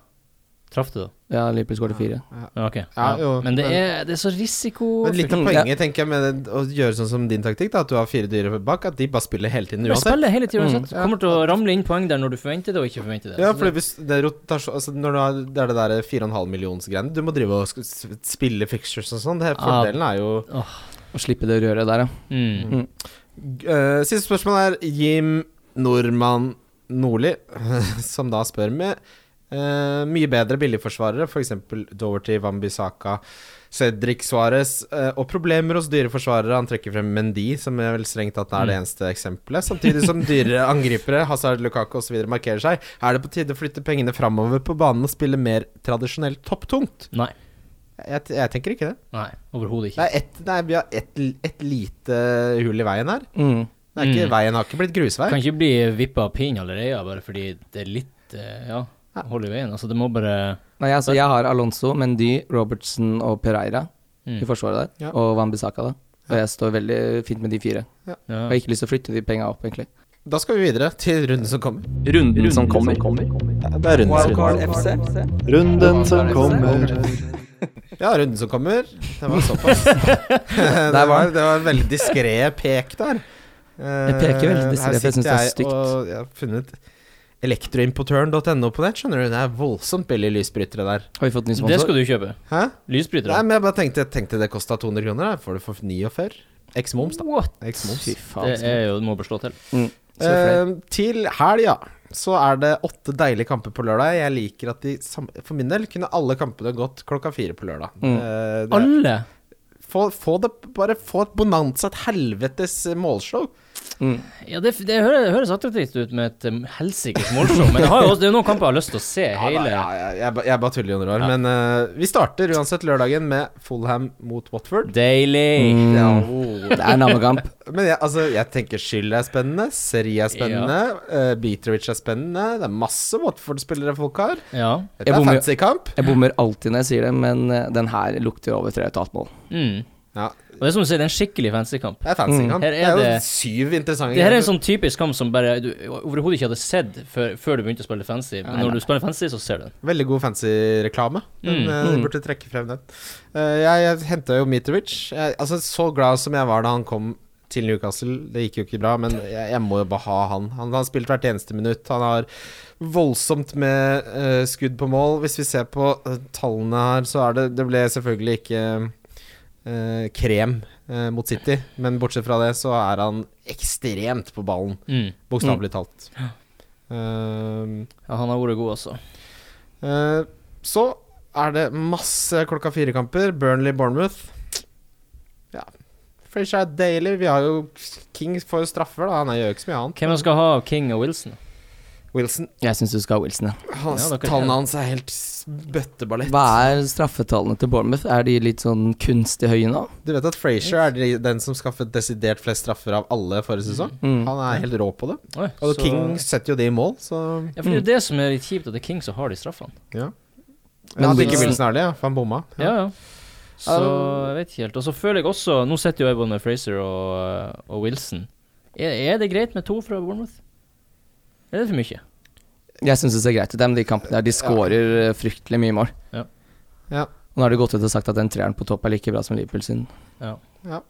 Speaker 3: Traff det, da?
Speaker 4: Ja, Liverpool skåret fire.
Speaker 3: Ja, ok.
Speaker 1: Ja, jo,
Speaker 3: men det
Speaker 1: men-
Speaker 3: er, det er så risiko
Speaker 1: Men litt av
Speaker 4: Mm,
Speaker 1: poenget tenker jeg med å gjøre sånn som din taktikk, da, at du har fire dyre bak, at de bare spiller hele tiden
Speaker 3: Du
Speaker 1: uansett.
Speaker 3: spiller hele tiden
Speaker 4: Mm.
Speaker 3: uansett. Kommer til å ramle inn poeng der når du forventer det, og ikke forventer det.
Speaker 1: Ja,
Speaker 3: Så
Speaker 1: for
Speaker 3: det-
Speaker 1: hvis det er rotasjon altså Når du har, det er det der 4,5 millions-greiene Du må drive og sk- s- spille fixtures og sånn. Det er-
Speaker 3: Ah.
Speaker 1: Fordelen er jo
Speaker 4: Å slippe det røret der, ja.
Speaker 3: mm.
Speaker 1: Eh, siste spørsmål er Jim Normann Nordli, som da spør med Eh, mye bedre billigforsvarere, f.eks. Doverty, Wambisaka, Cedric Suárez. eh, og problemer hos dyre forsvarere. Han trekker frem Mendy, som er vel strengt tatt er det eneste eksempelet. Samtidig som dyre angripere, Hazard, Lukaku osv. markerer seg, er det på tide å flytte pengene framover på banen og spille mer tradisjonelt topptungt.
Speaker 3: Nei.
Speaker 1: Jeg, jeg tenker ikke det.
Speaker 3: Nei,
Speaker 1: Det
Speaker 3: overhodet ikke.
Speaker 1: er ett- nei, vi har ett et lite hull i veien her.
Speaker 4: Mm.
Speaker 1: Det er ikke,
Speaker 3: Mm.
Speaker 1: Veien har ikke blitt grusvei.
Speaker 3: Kan ikke bli vippa av pinnen allerede bare fordi det er litt eh, Ja,
Speaker 1: Ja.
Speaker 3: hold i veien. Altså, det må bare
Speaker 4: Nei, altså, jeg har Alonso, Mendy, Robertson og Pereira
Speaker 3: mm.
Speaker 4: i forsvaret der.
Speaker 1: Ja.
Speaker 4: Og Wambisaka, da. Og jeg står veldig fint med de fire.
Speaker 3: ja.
Speaker 4: Jeg har ikke lyst til å flytte de penga opp, egentlig.
Speaker 1: Da skal vi videre til runden som kommer.
Speaker 5: Runden som kommer.
Speaker 1: Det er runden som kommer.
Speaker 4: FC?
Speaker 5: Runden som kommer.
Speaker 1: Ja, runden som kommer. Det var såpass. det, var, det var veldig diskré pek der. Jeg
Speaker 4: Jeg peker veldig diskré, for jeg synes det er stygt.
Speaker 1: Og jeg har funnet elektroimportøren.no på nett, skjønner du. Det er voldsomt billige lysbrytere der.
Speaker 4: Har vi fått ny
Speaker 3: Det
Speaker 4: sponsor?
Speaker 3: skal du kjøpe.
Speaker 1: Hæ? Nei,
Speaker 3: Lysbrytere.
Speaker 1: men jeg bare tenkte, tenkte det kosta 200 kroner. Da får du for 49. Eks moms, da.
Speaker 3: What?
Speaker 1: Eks moms.
Speaker 4: Fy
Speaker 3: Det
Speaker 4: faen. så-
Speaker 3: er jo Det må bare slå til.
Speaker 4: Mm. så flere.
Speaker 1: Eh, til helga så er det åtte deilige kamper på lørdag. Jeg liker at de sam- For min del kunne alle kampene gått klokka fire på lørdag.
Speaker 4: Mm.
Speaker 1: Eh, det-
Speaker 3: Alle!
Speaker 1: få, få det Bare få et bonanza, et helvetes eh, målshow.
Speaker 4: Mm.
Speaker 3: Ja, det, det høres, det høres attraktivt ut med et um, helsikes målshow, men jeg har jo også, det er jo noen kamper jeg har lyst til å se
Speaker 1: Ja,
Speaker 3: hele.
Speaker 1: da, ja, ja, jeg, ba- jeg bare tuller, Jon Roar. Men eh, vi starter uansett lørdagen med Fulham mot Watford.
Speaker 3: Deilig!
Speaker 1: Ja,
Speaker 4: Mm.
Speaker 1: oh.
Speaker 4: Det er namekamp.
Speaker 1: Men jeg, altså, jeg tenker Skyld er spennende, Seri er spennende, eh, Beatrovic er spennende. Det er masse Watford-spillere folk har.
Speaker 3: Ja.
Speaker 4: Jeg
Speaker 1: Dette er
Speaker 4: bommer-
Speaker 1: fancy kamp.
Speaker 4: Jeg bommer alltid når jeg sier det, men eh, den her lukter over 3,5 mål.
Speaker 3: Mm.
Speaker 1: Ja,
Speaker 3: Og det er som du sier, det er en skikkelig fancy kamp.
Speaker 1: det er fancy
Speaker 4: Mm.
Speaker 1: kamp.
Speaker 3: Her er
Speaker 1: Det er jo
Speaker 3: det-
Speaker 1: syv interessante
Speaker 3: Det her er en
Speaker 1: kamper.
Speaker 3: sånn typisk kamp som bare du overhodet ikke hadde sett før, før du begynte å spille fancy. Men når du spiller fancy, så ser du den.
Speaker 1: Veldig god fancy-reklame. Den
Speaker 3: Mm.
Speaker 1: eh,
Speaker 4: Mm.
Speaker 1: burde trekke frem den. Eh, jeg jeg henta jo Mitrovic. Jeg, altså, så glad som jeg var da han kom til Newcastle, det gikk jo ikke bra, men jeg, jeg må jo bare ha han. Han har spilt hvert eneste minutt. Han har voldsomt med eh, skudd på mål. Hvis vi ser på eh, tallene her, så er det Det ble selvfølgelig ikke eh, krem eh, mot City, men bortsett fra det så er han ekstremt på ballen,
Speaker 3: Mm.
Speaker 1: bokstavelig talt. Eh,
Speaker 3: Ja, han har vært god, altså.
Speaker 1: Eh, Så er det masse klokka fire-kamper. Burnley-Bournemouth. Ja. Fresh er deilig. Vi har jo King får jo straffer, da. Han gjør jo ikke så mye annet.
Speaker 3: Hvem man skal ha av King og Wilson?
Speaker 1: Wilson.
Speaker 4: Jeg syns du skal ha Wilson, ja.
Speaker 1: Hans,
Speaker 3: Ja, dere-
Speaker 1: tallene hans er helt s- bøtteballett.
Speaker 4: Hva er straffetallene til Bournemouth? Er de litt sånn kunstig høye nå?
Speaker 1: Du vet at Frazier er de- den som skaffet desidert flest straffer av alle forrige sesong.
Speaker 4: Mm.
Speaker 1: Han er helt rå på det.
Speaker 3: Oi,
Speaker 1: Og
Speaker 3: så-
Speaker 1: King setter jo det i mål, så
Speaker 3: Ja, for det er jo det som er litt kjipt, at det er King som har de straffene.
Speaker 1: Ja.
Speaker 4: Men
Speaker 1: Men at ikke
Speaker 4: Wilson-
Speaker 1: Wilson er det, ja, for han bomma.
Speaker 3: Ja, ja. Så jeg vet ikke helt. Og så føler jeg også Nå sitter jo jeg både med Fraser og, eh, og Wilson. Er, er det greit med to fra Bournemouth? Er det for mye?
Speaker 4: Jeg syns det ser greit ut, det, men de kampene der, de scorer eh, fryktelig mye mål.
Speaker 3: Ja.
Speaker 1: Ja.
Speaker 4: Og nå har de gått ut og sagt at den treeren på topp er like bra som Liverpool sin.
Speaker 1: Ja, nei,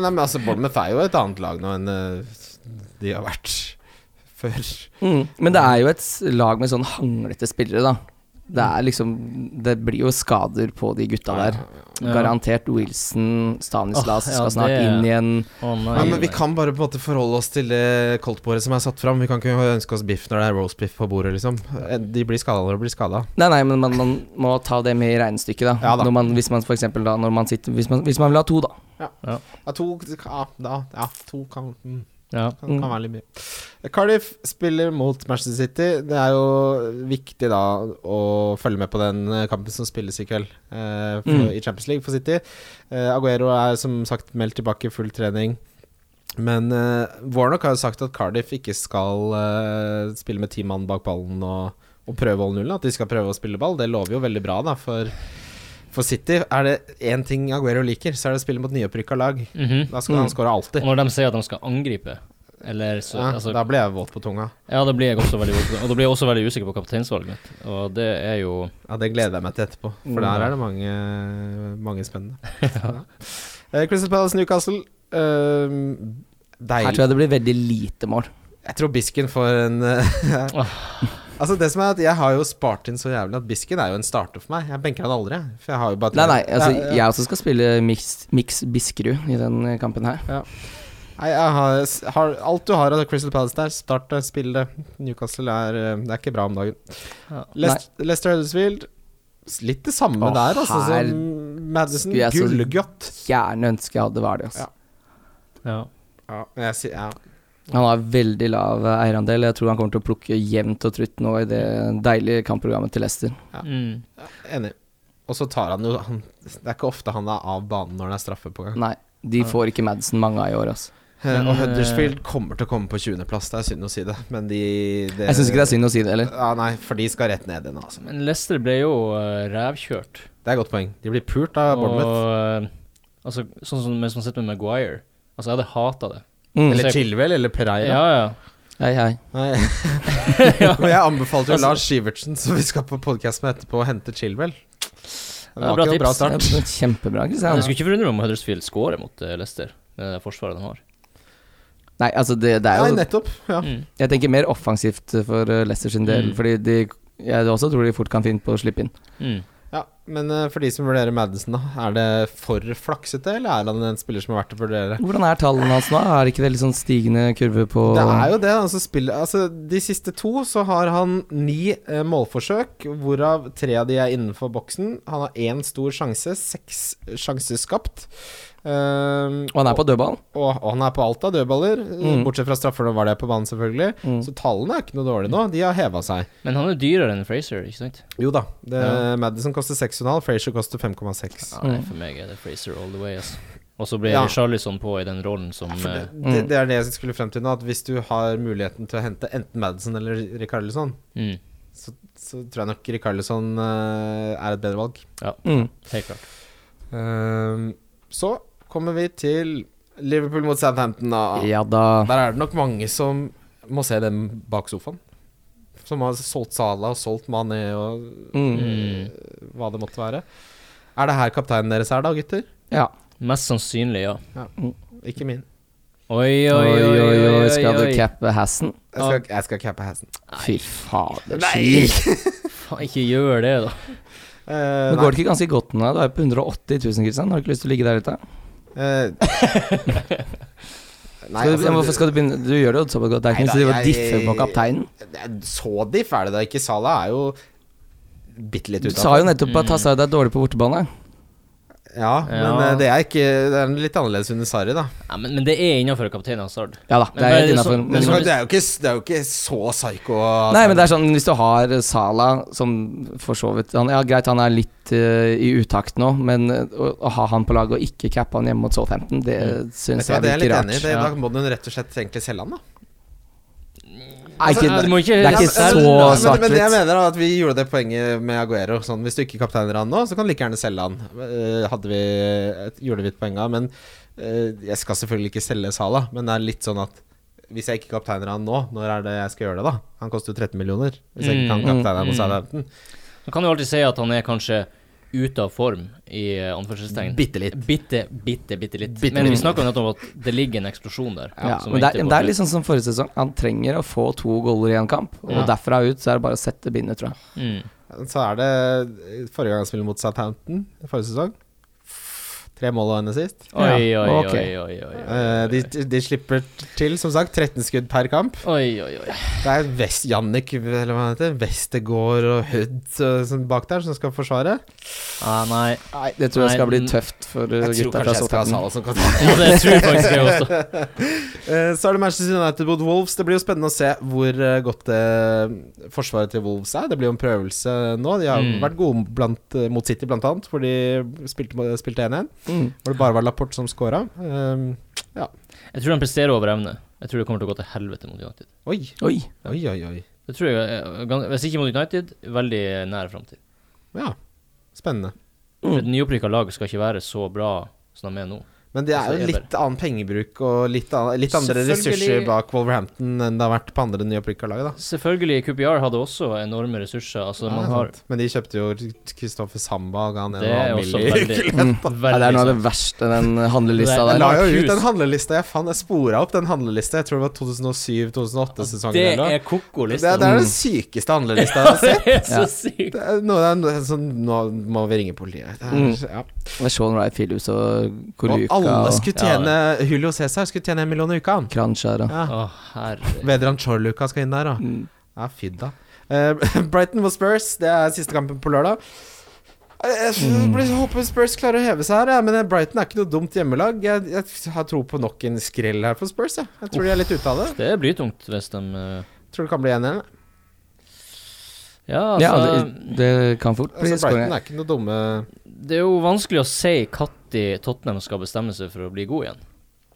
Speaker 1: men altså, Bournemouth er jo et annet lag nå enn eh, de har vært før.
Speaker 3: Mm.
Speaker 4: Men det er jo et s- lag med sånn hanglete spillere, da. Det er liksom Det blir jo skader på de gutta der.
Speaker 3: Ja.
Speaker 4: Garantert Wilson, Stanislas
Speaker 3: Åh, ja,
Speaker 4: skal snart
Speaker 3: det-
Speaker 4: inn igjen.
Speaker 3: Å nei.
Speaker 1: Ja, men vi kan bare på en måte forholde oss til det koldtbordet som er satt fram. Vi kan ikke ønske oss biff når det er roastbiff på bordet, liksom. Eh, De blir skada når de blir skada.
Speaker 4: Nei, nei, men man, man må ta det med i regnestykket, da.
Speaker 1: Ja da.
Speaker 4: Når man, hvis man for eksempel da, når man sitter Hvis man, hvis man vil ha to, da.
Speaker 1: Ja, to, ja, da, ja, to kan, mm,
Speaker 3: ja.
Speaker 1: kan, kan være litt mye. Cardiff spiller mot Manchester City. Det er jo viktig da å følge med på den eh, kampen som spilles i kveld eh, for,
Speaker 4: Mm.
Speaker 1: i Champions League for City. Eh, Aguero er som sagt meldt tilbake i full trening. Men eh, Warnock har jo sagt at Cardiff ikke skal eh, spille med ti mann bak ballen og, og prøve å holde nullen. At de skal prøve å spille ball. Det lover jo veldig bra da, for, for City. Er det én ting Aguero liker, så er det å spille mot nyopprykka lag.
Speaker 3: Mhm.
Speaker 1: Da skal han skåre
Speaker 3: Og
Speaker 1: alltid.
Speaker 3: når de sier at de skal angripe, eller så
Speaker 1: Ja,
Speaker 3: altså,
Speaker 1: da ble jeg våt på tunga.
Speaker 3: Ja, da blir jeg også veldig Og da blir jeg også veldig usikker på kapteinsvalget mitt, og det er jo
Speaker 1: Ja, Det gleder jeg meg til etterpå, for
Speaker 4: Mm.
Speaker 1: der er det mange, mange spennende. ja. Eh, Crystal Palace Newcastle.
Speaker 4: Her
Speaker 1: Eh, deilig.
Speaker 4: tror jeg det blir veldig lite mål.
Speaker 1: Jeg tror Bisken får en eh, Altså det som er at Jeg har jo spart inn så jævlig at Bisken er jo en starter for meg. Jeg benker han aldri. jeg, For jeg har jo bare eh,
Speaker 4: Nei, nei, altså,
Speaker 1: Ja, ja.
Speaker 4: jeg også skal spille Mix, mix Biskerud i den kampen her.
Speaker 1: Nei, jeg har, har, alt du har av Crystal Palace der, start det, spill det. Newcastle er eh, Det er ikke bra om dagen.
Speaker 3: Ja.
Speaker 1: Leicester Leicester Huddersfield s- Litt det samme
Speaker 4: Å,
Speaker 1: der, altså.
Speaker 4: her
Speaker 1: Som Madison.
Speaker 4: skulle jeg så-
Speaker 1: Gullgutt.
Speaker 4: Gjerne ønske jeg hadde vært det. Altså.
Speaker 1: Ja.
Speaker 3: Ja.
Speaker 1: Ja, men jeg sier ja.
Speaker 4: Han har veldig lav eh, eierandel. Jeg tror han kommer til å plukke jevnt og trutt nå i det deilige kampprogrammet til Leicester.
Speaker 1: Ja.
Speaker 3: Mm.
Speaker 1: Enig. Og så tar han jo han, Det er ikke ofte han er av banen når det er straffe på gang.
Speaker 4: Nei, de får ikke Madsen mange av i år, altså.
Speaker 1: Eh,
Speaker 3: Men,
Speaker 1: og Huddersfield kommer til å komme på 20.-plass, det er synd å si det, men de det,
Speaker 4: Jeg syns ikke det er synd å si det heller.
Speaker 1: Ja, nei, for de skal rett ned igjen, altså.
Speaker 3: Men Leicester ble jo eh, rævkjørt.
Speaker 1: Det er et godt poeng. De blir pult av Bournemouth.
Speaker 3: Og eh, altså, sånn som sånn sett med Maguire Altså, jeg hadde hata det.
Speaker 4: Mm.
Speaker 1: Eller
Speaker 3: se-
Speaker 1: Chilwell eller Pereira.
Speaker 3: Ja, ja.
Speaker 4: Hei, hei.
Speaker 1: Nei. Og jeg
Speaker 4: Altså-
Speaker 1: anbefalte jo Lars Sivertsen, som vi skal på podkast med etterpå, å hente Chilwell. Det
Speaker 3: Ja,
Speaker 1: var
Speaker 3: bra
Speaker 1: ikke noe bra
Speaker 3: tips.
Speaker 4: Det
Speaker 1: start.
Speaker 4: er Kjempebra,
Speaker 3: Men Jeg
Speaker 4: Kristian.
Speaker 3: skulle ikke forundre meg om Huddersfield scorer mot eh, Leicester, med det forsvaret de har.
Speaker 4: Nei, altså, det, det
Speaker 1: Nei,
Speaker 4: er jo
Speaker 1: nettopp. Ja.
Speaker 3: Mm.
Speaker 4: Jeg tenker mer offensivt for eh, Leicester sin del,
Speaker 3: Mm.
Speaker 4: fordi de jeg også tror de fort kan finne på å slippe inn.
Speaker 3: Mm.
Speaker 1: ja. Men eh, for de som vurderer Madison, da. Er det for flaksete, eller er han en spiller som er verdt å vurdere?
Speaker 4: Hvordan er tallene hans nå? Er ikke det litt sånn stigende kurve på
Speaker 1: Det er jo det. Altså, spillet, altså, de siste to så har han ni eh, målforsøk, hvorav tre av de er innenfor boksen. Han har én stor sjanse, seks sjanser skapt. Ehm,
Speaker 4: Og han er på dødballen?
Speaker 1: og, og han er på alt av dødballer,
Speaker 4: Mm.
Speaker 1: bortsett fra straffer, nå var det på banen, selvfølgelig.
Speaker 4: Mm.
Speaker 1: Så tallene er ikke noe dårlige nå. De har heva seg.
Speaker 3: Men han er dyrere enn Fraser, ikke sant?
Speaker 1: Jo da. Det,
Speaker 3: Ja.
Speaker 1: Madison koster 6,5, Frazier koster 5,6.
Speaker 3: Ja,
Speaker 4: Mm.
Speaker 3: nei, for meg er det Fraser all the way, altså. Og så blir
Speaker 1: Ja.
Speaker 3: Charlison på i den rollen som
Speaker 1: For
Speaker 3: eh,
Speaker 1: det,
Speaker 4: Mm.
Speaker 1: det, det er det jeg skulle frem til nå, at hvis du har muligheten til å hente enten Madison eller sånn, Rikarlison,
Speaker 3: mm,
Speaker 1: så, så tror jeg nok Rikarlison er et bedre valg.
Speaker 4: Mm.
Speaker 3: Helt klart.
Speaker 1: Ehm, så kommer vi til Liverpool mot Southampton, da.
Speaker 4: Ja da.
Speaker 1: Der er det nok mange som må se dem bak sofaen. Som har solgt Salah og solgt Mané og eh,
Speaker 4: Mm.
Speaker 3: Mm.
Speaker 1: hva det måtte være. Er det her kapteinen deres er, da, gutter?
Speaker 4: Ja.
Speaker 3: Mest sannsynlig, ja.
Speaker 1: Ikke min.
Speaker 3: Oi, oi,
Speaker 4: Oi,
Speaker 3: oi, oi, oi,
Speaker 4: skal du
Speaker 3: oi.
Speaker 4: cappe Hassen?
Speaker 1: Jeg skal, jeg skal cappe Hassen.
Speaker 4: Fy fader.
Speaker 1: Nei!
Speaker 3: Faen, ikke gjør det, da.
Speaker 1: Eh,
Speaker 4: Men
Speaker 1: nei.
Speaker 4: går det ikke ganske godt nå? Du er jo på 180 000, Kristian. Har du ikke lyst til å ligge der ute?
Speaker 1: Eh, nei,
Speaker 4: Skal du,
Speaker 1: altså,
Speaker 4: hvorfor skal du begynne? Du gjør det jo såpass godt. Det er ikke
Speaker 1: Nei
Speaker 4: noe til å
Speaker 1: da, jeg-
Speaker 4: diffe på kapteinen.
Speaker 1: det er Så diff er det da ikke. Salah er jo bitte litt
Speaker 4: Du
Speaker 1: utafor.
Speaker 4: sa jo nettopp
Speaker 1: Mm.
Speaker 4: at Hazard er dårlig på bortebane.
Speaker 1: Ja,
Speaker 3: Ja.
Speaker 1: men eh, det er ikke Det er litt annerledes under Sarri, da.
Speaker 3: Ja, men, men det er innafor kaptein Hazard.
Speaker 4: Ja da, det
Speaker 3: Men
Speaker 4: er helt
Speaker 3: det er så-
Speaker 4: innafor.
Speaker 3: det
Speaker 1: Men
Speaker 3: er
Speaker 1: du
Speaker 3: så-
Speaker 4: Nei,
Speaker 1: kan- det, er jo ikke, det er jo ikke så psyko.
Speaker 4: men det er sånn hvis du har Salah, som for så vidt han, Ja, greit, han er litt eh, i utakt nå, men eh, å, å ha han på laget og ikke cappe han hjemme mot Southampton, det
Speaker 1: Mm. Vet
Speaker 4: syns
Speaker 1: du hva,
Speaker 4: jeg
Speaker 1: det er
Speaker 4: virker
Speaker 1: jeg litt
Speaker 4: rart.
Speaker 1: enig i. Det,
Speaker 3: Ja.
Speaker 1: Da må du rett og slett egentlig selge han, da.
Speaker 4: Er ikke-
Speaker 3: Altså, du må ikke-
Speaker 4: det er ikke
Speaker 3: Ja, men-
Speaker 4: så
Speaker 1: men, men, men det jeg
Speaker 4: svart-hvitt.
Speaker 1: mener er at vi gjorde det poenget med Aguero. Sånn, hvis du ikke kapteiner han nå, så kan du like gjerne selge han. Eh, hadde vi, gjorde vi et poeng av. Men eh, jeg skal selvfølgelig ikke selge Sala, men det er litt sånn at hvis jeg ikke kapteiner han nå, når er det jeg skal gjøre det, da? Han koster jo 13 millioner. Hvis jeg ikke kan
Speaker 4: Mm,
Speaker 1: kapteine han
Speaker 3: mm.
Speaker 1: på Southampton.
Speaker 3: Man kan jo alltid si at han er kanskje ute av form, i eh, anførselstegn.
Speaker 1: Bitte litt.
Speaker 3: Bitte, bitte, bitte litt.
Speaker 1: Bitte
Speaker 3: men
Speaker 1: litt.
Speaker 3: vi snakker jo nettopp om at det ligger en eksplosjon der.
Speaker 4: Ja,
Speaker 3: som
Speaker 4: men det,
Speaker 3: venter
Speaker 4: er,
Speaker 3: på
Speaker 4: det er
Speaker 3: slutt.
Speaker 4: litt sånn som forrige sesong. Han trenger å få to goller i en kamp, og
Speaker 3: Ja.
Speaker 4: derfra ut så er det bare å sette bindet, tror jeg.
Speaker 3: mm.
Speaker 1: Så er det eh, forrige gang han spilte mot Southampton, forrige sesong. Tre mål og en sist.
Speaker 3: Oi, oi,
Speaker 4: Ja,
Speaker 3: oi,
Speaker 4: ok.
Speaker 3: oi, oi, oi,
Speaker 1: Eh,
Speaker 3: oi.
Speaker 1: de, de slipper til, som sagt, 13 skudd per kamp.
Speaker 3: Oi, oi, oi.
Speaker 1: Det er West, Jannik eller hva han heter, Westergård og Hood eh, som bak der som skal forsvare.
Speaker 3: Ah, nei.
Speaker 4: Nei, det tror jeg
Speaker 3: Nei,
Speaker 4: skal bli
Speaker 3: den-
Speaker 4: tøft for uh,
Speaker 1: Jeg tror
Speaker 4: gutta
Speaker 1: kanskje
Speaker 4: fra
Speaker 1: jeg skal
Speaker 4: Southampton.
Speaker 1: ha Salah som kaptein.
Speaker 3: Ja, det tror jeg faktisk jeg også.
Speaker 1: Eh, Så er det Manchester United mot Wolves. Det blir jo spennende å se hvor eh, godt eh, forsvaret til Wolves er. Det blir jo en prøvelse nå. De har
Speaker 3: Mm.
Speaker 1: vært gode blant, eh, mot City, blant annet, hvor de spilte spilte 1-1.
Speaker 4: Mm.
Speaker 1: Hvor det bare var Laporte som scora. Um,
Speaker 3: Jeg tror han presterer over evne. Jeg tror det kommer til å gå til helvete mot United.
Speaker 1: oi,
Speaker 4: Oi.
Speaker 1: oi, oi. oi.
Speaker 3: Det tror jeg, er gan- Hvis ikke mot United, veldig nær framtid.
Speaker 1: Ja, spennende.
Speaker 3: For Et nyopprykka lag skal ikke være så bra som de er nå.
Speaker 1: Men det er
Speaker 3: Altså,
Speaker 1: jo
Speaker 3: Eber.
Speaker 1: litt annen pengebruk og litt, an litt andre ressurser
Speaker 3: Selvfølgelig.
Speaker 1: bak Wolverhampton enn det har vært på andre nyopprykka lag, da.
Speaker 3: Selvfølgelig, QPR hadde også enorme ressurser. Altså,
Speaker 1: Ja,
Speaker 3: man
Speaker 1: sant.
Speaker 3: har
Speaker 1: Men de kjøpte jo Kristoffer Samba og ga han en
Speaker 3: Det
Speaker 1: og en
Speaker 3: er
Speaker 1: halv
Speaker 3: også
Speaker 1: milli.
Speaker 3: veldig,
Speaker 4: Mm. Nei, det
Speaker 3: veldig
Speaker 4: er noe av det
Speaker 3: sant.
Speaker 4: verste, den uh, handlelista
Speaker 1: Jeg
Speaker 3: Det er
Speaker 4: der.
Speaker 1: la
Speaker 3: Mark
Speaker 1: jo ut
Speaker 3: Hughes.
Speaker 1: den handlelista. Jeg, fant- jeg spora opp den handlelista. Jeg tror det var 2007-2008-sesongen.
Speaker 3: Altså, Det
Speaker 1: eller noe.
Speaker 3: er koko
Speaker 1: det,
Speaker 3: lista.
Speaker 1: det er den sykeste handlelista jeg har sett.
Speaker 3: Det er så
Speaker 4: Ja.
Speaker 3: sykt.
Speaker 1: Det er noe,
Speaker 3: Mm.
Speaker 1: det er noe, sånn, nå må vi ringe politiet. Det er, ja.
Speaker 4: Jeg så når det er Philips og
Speaker 1: Og
Speaker 4: Koluku uka.
Speaker 1: alle
Speaker 4: Og
Speaker 1: skulle tjene Julio Cæsar skulle tjene en million i uka. han.
Speaker 4: Kranskjær og
Speaker 1: Ja.
Speaker 3: Å, herre
Speaker 1: Vedran Chorluka skal inn der, da.
Speaker 4: Mm.
Speaker 1: Ja, fy da. Eh, Brighton mot Spurs, det er siste kampen på lørdag. Eh, Jeg jeg blir- håper Spurs klarer å heve seg her, jeg, men eh, Brighton er ikke noe dumt hjemmelag. Jeg, jeg har tro på nok en skrell her for Spurs. Jeg, jeg tror de er litt ute av det.
Speaker 3: Det er blytungt hvis de eh,
Speaker 1: Tror det kan bli 1-1.
Speaker 3: Ja,
Speaker 4: Ja,
Speaker 3: altså
Speaker 4: det, det kan fort bli
Speaker 1: Altså, Brighton
Speaker 4: skåring.
Speaker 1: er ikke noe dumme
Speaker 3: Det er jo vanskelig å si når Tottenham skal bestemme seg for å bli god igjen.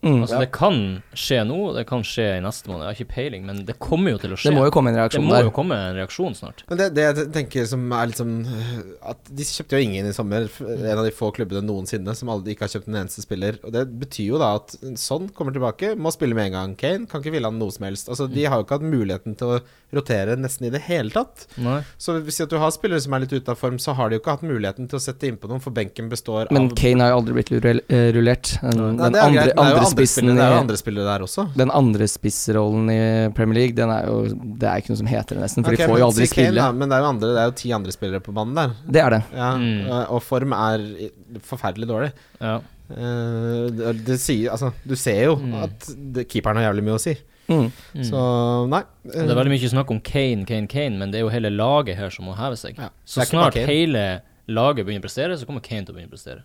Speaker 4: Mm.
Speaker 3: Altså, Det kan skje nå, og det kan skje i neste måned. Jeg har ikke peiling, men det kommer jo til å skje.
Speaker 4: Det må jo komme en
Speaker 3: Det
Speaker 4: reaksjon
Speaker 3: må
Speaker 4: der.
Speaker 3: jo komme en reaksjon snart.
Speaker 1: Men det, det jeg tenker som er litt sånn øh, At de kjøpte jo ingen i sommer. f- En av de få klubbene noensinne som aldri ikke har kjøpt en eneste spiller. Og det betyr jo da at sånn kommer tilbake, må spille med en gang. Kane kan ikke hvile han noe som helst. Altså De har jo ikke hatt muligheten til å rotere nesten i det hele tatt.
Speaker 3: Nei.
Speaker 1: Så hvis at du har spillere som er litt ute av form, så har de jo ikke hatt muligheten til å sette innpå noen, for benken består
Speaker 4: Men
Speaker 1: av
Speaker 4: Kane har jo aldri blitt rull- eh, rullert. Den,
Speaker 1: Nei,
Speaker 4: den
Speaker 1: det er greit,
Speaker 4: andre,
Speaker 1: men det er jo
Speaker 4: andre
Speaker 1: spillere-
Speaker 4: spissen
Speaker 1: Det er jo
Speaker 4: i
Speaker 1: andre spillere der også.
Speaker 4: den andre spissrollen i Premier League, den er jo, det er ikke noe som heter det, nesten. For
Speaker 1: Ok,
Speaker 4: de får
Speaker 1: men
Speaker 4: jo aldri
Speaker 1: si Kane,
Speaker 4: spille.
Speaker 1: da, men det er jo andre Det er jo ti andre spillere på banen der.
Speaker 4: Det er det.
Speaker 1: Ja,
Speaker 3: Mm.
Speaker 1: og- Og form er i- forferdelig dårlig.
Speaker 3: Ja.
Speaker 1: Eh, det, det sier, altså, du ser jo
Speaker 3: Mm.
Speaker 1: at det, keeperen har jævlig mye å si.
Speaker 4: Mm.
Speaker 3: Mm.
Speaker 1: Så nei. eh,
Speaker 3: Det er veldig mye snakk om Kane, Kane, Kane, men det er jo hele laget her som må heve seg.
Speaker 1: Ja.
Speaker 3: Så
Speaker 1: Det er ikke bare
Speaker 3: snart
Speaker 1: Kane.
Speaker 3: hele laget begynner å prestere, så kommer Kane til å begynne å prestere.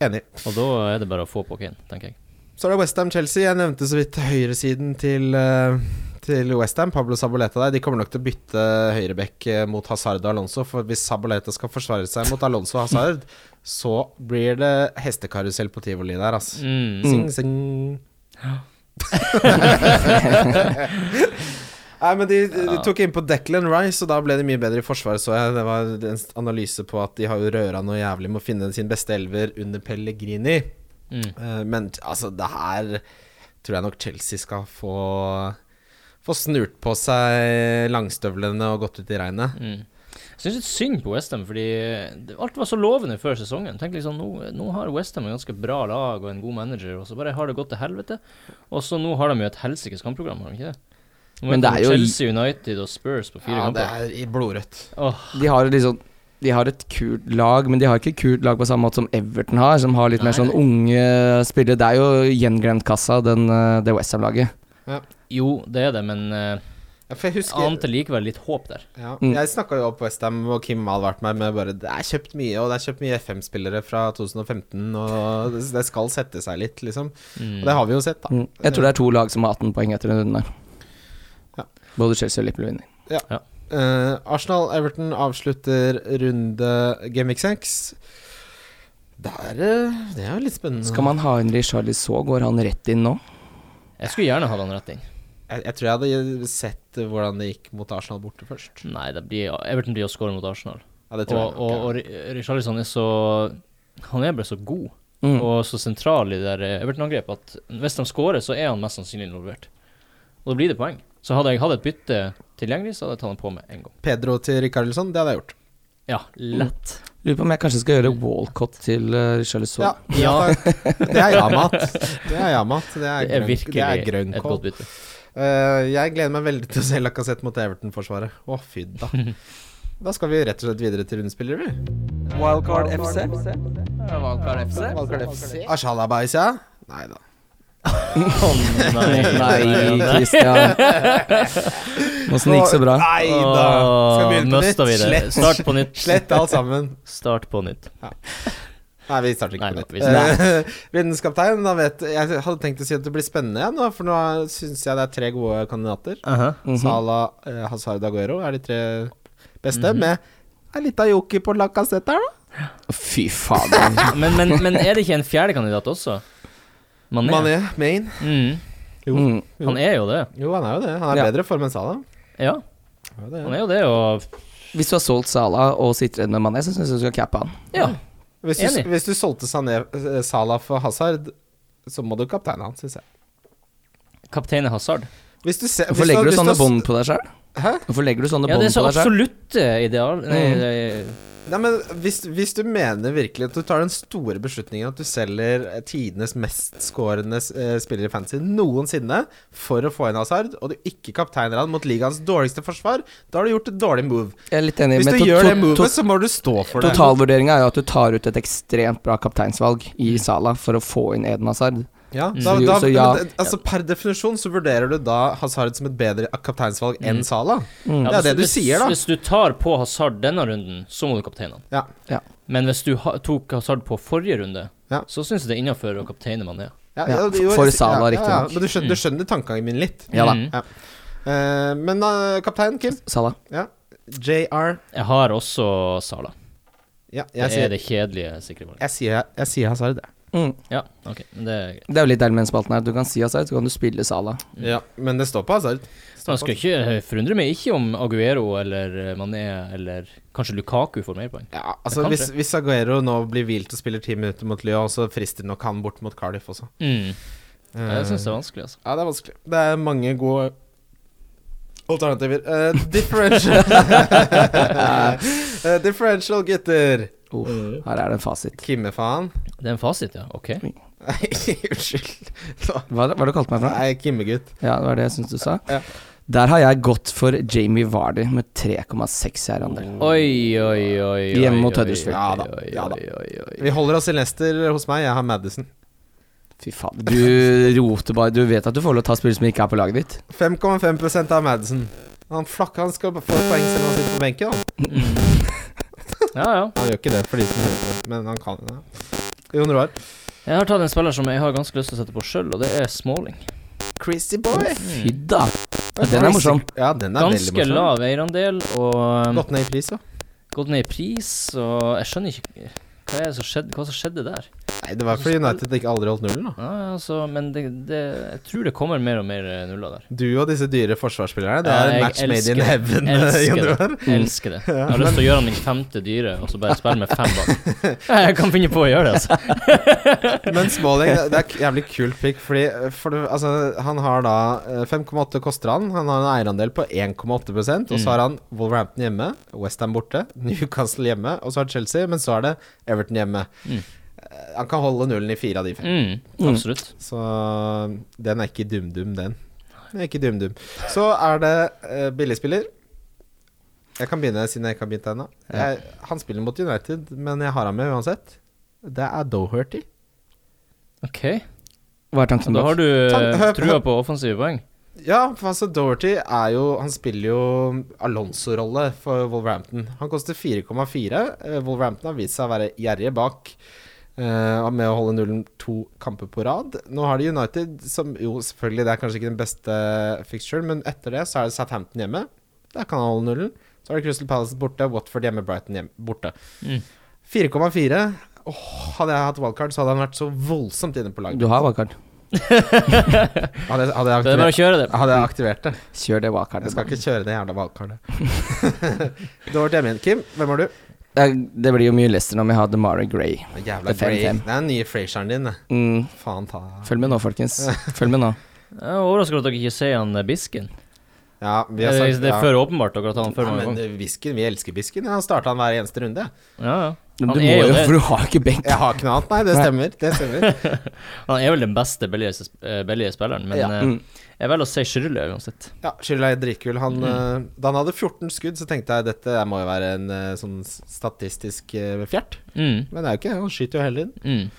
Speaker 1: Enig.
Speaker 3: Og da er det bare å få på Kane, tenker jeg.
Speaker 1: Så er det Westham-Chelsea. Jeg nevnte så vidt høyresiden til, eh, til Westham. Pablo Saboleta der. De kommer nok til å bytte høyreback eh, mot Hazard og Alonso. For hvis Saboleta skal forsvare seg mot Alonso og Hazard, så blir det hestekarusell på tivoli der, altså.
Speaker 3: Mm.
Speaker 1: Sing, sing. Nei, men de, de tok inn på Declan Rice, og da ble de mye bedre i forsvaret, så jeg. Det var en analyse på at de har jo røra noe jævlig med å finne sin beste elver under Pellegrini.
Speaker 3: Mm.
Speaker 1: Eh, Men t- altså, det her tror jeg nok Chelsea skal få Få snurt på seg langstøvlene og gått ut i regnet.
Speaker 3: Mm. Jeg syns litt synd på Westham, fordi det- alt var så lovende før sesongen. Tenk liksom, Nå, nå har Westham et ganske bra lag og en god manager, og så bare har det gått til helvete. Og så nå har de jo et helsikes kampprogram, har de ikke det? Nå
Speaker 4: Men
Speaker 3: vet
Speaker 4: det
Speaker 3: vi
Speaker 4: er jo-
Speaker 3: Chelsea United og Spurs på fire
Speaker 1: Ja, det er
Speaker 3: kamper.
Speaker 1: i blodrødt.
Speaker 3: Åh,
Speaker 4: De har liksom de har et kult lag, men de har ikke et kult lag på samme måte som Everton har, som har litt mer
Speaker 3: Nei,
Speaker 4: sånn
Speaker 3: nei.
Speaker 4: unge spillere. Det er jo gjenglemt kassa, den, eh, det Westham-laget.
Speaker 3: jo, det er det, men eh,
Speaker 1: Ja, for jeg
Speaker 3: jeg
Speaker 1: husker
Speaker 3: ante likevel litt håp der.
Speaker 1: Ja.
Speaker 4: Mm.
Speaker 1: Jeg snakka jo opp Westham, og Kim har vært meg med bare Det er kjøpt mye, og det er kjøpt mye FM-spillere fra 2015, og det- det skal sette seg litt, liksom. Og det har vi jo sett, da.
Speaker 4: Mm. Jeg tror det er to lag som har 18 poeng etter den runden der.
Speaker 1: Ja.
Speaker 4: Både Chelsea og Liverpool vinner.
Speaker 1: Eh, Arsenal-Everton avslutter runde Game Week 6. Der, eh, det er jo litt spennende.
Speaker 4: Skal man ha en Richarlison, går han rett inn nå?
Speaker 3: Jeg skulle gjerne hatt han rett inn.
Speaker 1: jeg, jeg tror jeg hadde sett hvordan det gikk mot Arsenal borte først.
Speaker 3: Nei, det blir, Everton blir å score mot Arsenal.
Speaker 1: Ja, det
Speaker 3: Og,
Speaker 1: tror jeg nok,
Speaker 3: og,
Speaker 1: ja.
Speaker 3: og Ri- Richarlison er så Han er bare så god.
Speaker 4: Mm.
Speaker 3: og så sentral i det der eh, Everton-angrepet at hvis de skårer, så er han mest sannsynlig involvert. Og da blir det poeng. Så hadde jeg hatt et bytte tilgjengelig, så hadde jeg tatt han på med en gang.
Speaker 1: Pedro til Rikardsson, det hadde jeg gjort.
Speaker 3: Ja, lett.
Speaker 4: Lurer på om jeg kanskje skal gjøre Walcott til eh, Richarlison.
Speaker 1: Ja, ja. takk. Det er ja-mat. Det er ja-mat. Det er,
Speaker 3: Det er
Speaker 1: grønn-
Speaker 3: virkelig
Speaker 1: det er grønn
Speaker 3: et
Speaker 1: kål.
Speaker 3: godt bytte.
Speaker 1: Eh, jeg gleder meg veldig til å se Lacassette mot Everton-forsvaret. Å, fy da. Da skal vi rett og slett videre til rundespillere, vi.
Speaker 4: Wildcard FC?
Speaker 2: Valgkar FC.
Speaker 1: Ashalabais, ja. Nei da.
Speaker 3: Nei,
Speaker 4: Nei, Christian. Åssen gikk så bra?
Speaker 1: Nei da. Skal vi begynne på nytt?
Speaker 3: Mista vi det.
Speaker 1: Slett,
Speaker 3: Start på nytt.
Speaker 1: slett alt sammen.
Speaker 3: Start på nytt.
Speaker 1: Nei, vi starter ikke
Speaker 3: Nei,
Speaker 1: på
Speaker 3: vi
Speaker 1: nytt. Eh, Vindenskaptein, da vet Jeg hadde tenkt å si at det blir spennende igjen, da, for nå syns jeg det er tre gode kandidater.
Speaker 4: Mhm.
Speaker 1: Salah, eh, Hazard Aguero er de tre beste, med en lita joker på Lacassette her, da. Ah.
Speaker 4: Fy faen.
Speaker 3: Men, men, men er det ikke en fjerde kandidat også? Mané.
Speaker 1: Mané, Main.
Speaker 3: Mm.
Speaker 1: Jo.
Speaker 4: Mm.
Speaker 3: Han er jo det.
Speaker 1: Jo, han er jo det. Han er
Speaker 4: Ja.
Speaker 1: bedre form enn Salah.
Speaker 3: Ja,
Speaker 1: Ja, det er.
Speaker 3: han er jo det, og
Speaker 4: Hvis du har solgt Salah og sitter igjen med Mané, så syns jeg du skal cappe han.
Speaker 3: Ja.
Speaker 1: Hvis du,
Speaker 3: Enig.
Speaker 1: hvis du solgte Sané, eh, Salah for Hazard, så må du kapteine han, syns jeg.
Speaker 3: Kaptein Hazard.
Speaker 1: Hvis du ser,
Speaker 4: Hvorfor
Speaker 1: hvis
Speaker 4: legger du
Speaker 1: hvis
Speaker 4: sånne
Speaker 1: har-
Speaker 4: bånd på deg sjøl? Hvorfor legger du sånne
Speaker 3: Ja,
Speaker 4: bånd
Speaker 3: det er så
Speaker 4: på deg selv?
Speaker 3: absolutte ideal Nei,
Speaker 1: Mm.
Speaker 3: det-
Speaker 1: Nei, men hvis, hvis du mener virkelig at du tar den store beslutningen at du selger eh, tidenes mestskårende eh, spiller i fantasy noensinne for å få inn Hazard, og du ikke kapteiner han mot ligaens dårligste forsvar, da har du gjort et dårlig move.
Speaker 4: Jeg er litt enig
Speaker 1: Hvis
Speaker 4: men
Speaker 1: du
Speaker 4: to-
Speaker 1: gjør
Speaker 4: to-
Speaker 1: det
Speaker 4: to-
Speaker 1: movet, så må du stå for det.
Speaker 4: Totalvurderinga er jo at du tar ut et ekstremt bra kapteinsvalg i Sala for å få inn Eden Hazard.
Speaker 1: Ja,
Speaker 3: Mm.
Speaker 1: da,
Speaker 4: Så-
Speaker 1: da,
Speaker 4: så ja.
Speaker 1: men det- altså, per definisjon så vurderer du da Hazard som et bedre kapteinsvalg enn
Speaker 3: Mm.
Speaker 1: Salah.
Speaker 3: Ja,
Speaker 1: Det er det du
Speaker 3: hvis-
Speaker 1: sier, da.
Speaker 3: Hvis du tar på Hazard denne runden, så må du kapteine han.
Speaker 1: Ja.
Speaker 4: Ja.
Speaker 3: Men hvis du ha, tok Hazard på forrige runde,
Speaker 1: Ja.
Speaker 3: så syns jeg det er innafor å kapteine man er.
Speaker 1: Ja,
Speaker 4: Ja,
Speaker 1: det- jo,
Speaker 4: for
Speaker 1: jeg-
Speaker 4: Salah,
Speaker 1: ja, ja, ja,
Speaker 4: riktignok.
Speaker 1: Men du skjønner, du skjønner tankegangen min litt.
Speaker 4: Ja da.
Speaker 3: Mm.
Speaker 1: Eh, men eh, kaptein Kim,
Speaker 4: Sala.
Speaker 1: JR
Speaker 3: Jeg har også Sala.
Speaker 1: Ja,
Speaker 3: Det
Speaker 1: jeg
Speaker 3: er
Speaker 1: sier,
Speaker 3: det kjedelige sikre valget.
Speaker 1: jeg sier, jeg sier Hazard, jeg.
Speaker 4: Mm.
Speaker 3: Ja, OK. Men det er greit.
Speaker 4: Det er jo litt der med den spalten her. Du kan si Hazard, så kan du spille Sala.
Speaker 3: Mm.
Speaker 1: Ja, men det står på Hazard.
Speaker 3: Så jeg skal ikke jeg forundrer meg ikke om Aguero eller Mané eller kanskje Lukaku får mer poeng.
Speaker 1: Ja, altså
Speaker 3: kan
Speaker 1: hvis, hvis Aguero nå blir hvilt og spiller ti minutter mot Lyon, så frister nok han bort mot Cardiff også.
Speaker 3: Mm. Jeg
Speaker 1: Eh,
Speaker 3: syns det er vanskelig, altså.
Speaker 1: Ja, det er vanskelig. Det er mange gode alternativer. Eh, differential Eh, Differential, gutter.
Speaker 4: Uff, her er det en fasit.
Speaker 1: Kimmefaen.
Speaker 3: Det er en fasit, ja. OK.
Speaker 1: Nei, unnskyld. Nå-
Speaker 4: Hva hva var det du kalte meg for? noe?
Speaker 1: Nei, Kimmegutt.
Speaker 4: Ja, det var det jeg syns du sa.
Speaker 1: Ja.
Speaker 4: Der har jeg gått for Jamie Vardy med 3,6 i eierandel.
Speaker 3: Mm. Oi, oi, oi.
Speaker 4: Hjemme mot
Speaker 3: Huddersfield
Speaker 4: Huddersfield.
Speaker 1: Ja da, ja da. Vi holder oss i Leicester hos meg. Jeg har Madison.
Speaker 4: Fy faen. Du roter bare. Du vet at du får lov til å ta spill som ikke er på laget ditt.
Speaker 1: 5,5 av Madison. Han flakka, han skal få poeng selv om han sitter på benken. Da.
Speaker 3: Ja, ja.
Speaker 1: Han gjør ikke det for de som hører på, men han kan det. Jon Roar.
Speaker 3: Jeg har tatt en spiller som jeg har ganske lyst til å sette på sjøl, og det er Smalling.
Speaker 1: Crazy boy.
Speaker 3: Mm.
Speaker 4: Fy da. Den er morsom.
Speaker 1: Ja, den er
Speaker 3: Ganske
Speaker 1: veldig morsom.
Speaker 3: lav eierandel, og um,
Speaker 1: Gått ned i pris, da.
Speaker 3: gått ned i pris, og jeg skjønner ikke hva er det som skjedde, hva som skjedde der?
Speaker 1: Nei, det var fordi United ikke aldri holdt nullen, da.
Speaker 3: Ja, altså, men det, det, jeg tror det kommer mer og mer eh, nuller der.
Speaker 1: Du og disse dyre forsvarsspillerne, det
Speaker 3: Ja,
Speaker 1: er en
Speaker 3: jeg
Speaker 1: match made
Speaker 3: elsker
Speaker 1: in
Speaker 3: det.
Speaker 1: heaven. eh,
Speaker 3: Elsker
Speaker 1: Jon
Speaker 3: det.
Speaker 1: Roar.
Speaker 3: Jeg elsker det. Jeg har lyst til å gjøre han min femte dyre, og så bare spille med fem bak. Ja, Jeg kan finne på å gjøre det, altså.
Speaker 1: Men Smalling, det- det er et jævlig kult pick, fordi eh, for det, altså, han har da eh, 5,8 koster han. Han har en eierandel på 1,8 og så
Speaker 3: Mm.
Speaker 1: har han Wolverhampton hjemme, Westham borte, Newcastle hjemme, og så har Chelsea, men så er det Everton hjemme.
Speaker 3: Mm.
Speaker 1: Eh, Han kan holde nullen i fire av de fem.
Speaker 3: Mm,
Speaker 4: Mm.
Speaker 3: absolutt.
Speaker 1: Så den er ikke dum-dum, den. Den er ikke dum-dum. Så er det eh, billigspiller. Jeg kan begynne siden jeg ikke har begynt ennå. Jeg- Han spiller mot United, men jeg har han med uansett. Det er Doherty.
Speaker 3: OK.
Speaker 4: Hva er tanken
Speaker 3: Da
Speaker 4: bak?
Speaker 3: har du
Speaker 1: Takk.
Speaker 3: eh,
Speaker 1: Hør-
Speaker 3: trua på offensive poeng.
Speaker 1: Ja, for altså Doherty er jo Han spiller jo Alonso-rolle for Wolverhampton. Han koster 4,4. Eh, Wolverhampton har vist seg å være gjerrige bak. eh, og med å holde nullen to kamper på rad. Nå har de United, som jo selvfølgelig det er kanskje ikke den beste fixturen, men etter det så er det Southampton hjemme. Der kan han holde nullen. Så har de Crystal Palace borte, Watford hjemme, Brighton hjemme, borte.
Speaker 3: Mm.
Speaker 1: 4,4. Åh, hadde jeg hatt wildcard, så hadde han vært så voldsomt inne på laget.
Speaker 4: Du har wildcard.
Speaker 1: Hadde, jeg- hadde, jeg
Speaker 3: Det er
Speaker 1: aktivert,
Speaker 3: bare å kjøre det.
Speaker 1: hadde jeg aktivert det.
Speaker 4: Kjør det
Speaker 1: Jeg
Speaker 4: wildcardet.
Speaker 1: skal ikke kjøre det jævla valgkartet. det var det jeg mente. Kim, hvem har du?
Speaker 4: Det, det blir jo mye Leicester når vi har Demare Gray.
Speaker 1: Jævla
Speaker 4: Det er fem,
Speaker 1: Gray.
Speaker 4: fem.
Speaker 1: Det er den nye Frasieren din. det.
Speaker 4: Mm.
Speaker 1: Faen ta
Speaker 4: Følg med nå, folkens. Følg med nå.
Speaker 3: Jeg er overrasket over at dere ikke ser han eh, Bisken.
Speaker 1: Ja, vi
Speaker 3: Det,
Speaker 1: har sagt
Speaker 3: Eh, det er
Speaker 1: ja.
Speaker 3: for åpenbart dere har tatt han før
Speaker 1: ja,
Speaker 3: mange
Speaker 1: men
Speaker 3: ganger.
Speaker 1: eh, Bisken, vi elsker Bisken. Ja, Han starta han hver eneste runde.
Speaker 3: Ja, ja.
Speaker 4: Du
Speaker 3: Han
Speaker 4: må
Speaker 3: er jo
Speaker 4: jo,
Speaker 3: det.
Speaker 4: for du har ikke benk.
Speaker 1: Jeg har ikke noe annet. Nei, det
Speaker 4: Nei.
Speaker 1: stemmer. Det stemmer.
Speaker 3: Han er vel den beste billige, eh, billige spilleren, men
Speaker 1: Ja.
Speaker 3: eh,
Speaker 4: Mm.
Speaker 3: jeg velger å si Schürrle uansett.
Speaker 1: Ja, Skylda er dritkul. Han, eh, da han hadde 14 skudd, så tenkte jeg dette må jo være en eh, sånn statistisk eh, fjert.
Speaker 3: Mm,
Speaker 1: Men det er jo ikke det. Han skyter jo heller inn.
Speaker 3: mm.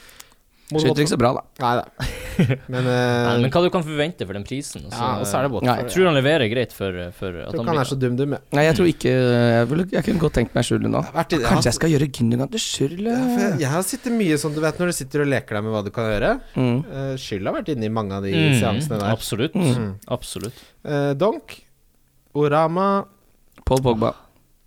Speaker 1: Mot
Speaker 4: Skyter ikke så bra, da.
Speaker 1: Watford. Nei da. Men, eh,
Speaker 3: Nei, men hva du kan forvente for den prisen? altså,
Speaker 1: ja, og så er det
Speaker 4: Nei,
Speaker 1: Watford.
Speaker 3: jeg tror han leverer greit for, eh, for at
Speaker 1: Jeg tror
Speaker 3: han
Speaker 1: ikke han er
Speaker 3: blir
Speaker 1: så dum-dum. jeg.
Speaker 4: Nei, jeg tror ikke Jeg, ville, jeg kunne godt tenkt meg Sjurle nå.
Speaker 1: Vært i-
Speaker 4: Kanskje jeg skal gjøre Gündogan til Sjurle?
Speaker 1: Ja, for jeg- jeg har sittet mye sånn, du vet når du sitter og leker deg med hva du kan gjøre.
Speaker 4: Mm.
Speaker 1: Uh, Skyld har vært inne i mange av de seansene
Speaker 3: mm,
Speaker 1: der.
Speaker 3: Absolutt.
Speaker 1: Mm.
Speaker 3: Absolutt.
Speaker 1: Eh, Donk, Orama
Speaker 4: Paul Pogba.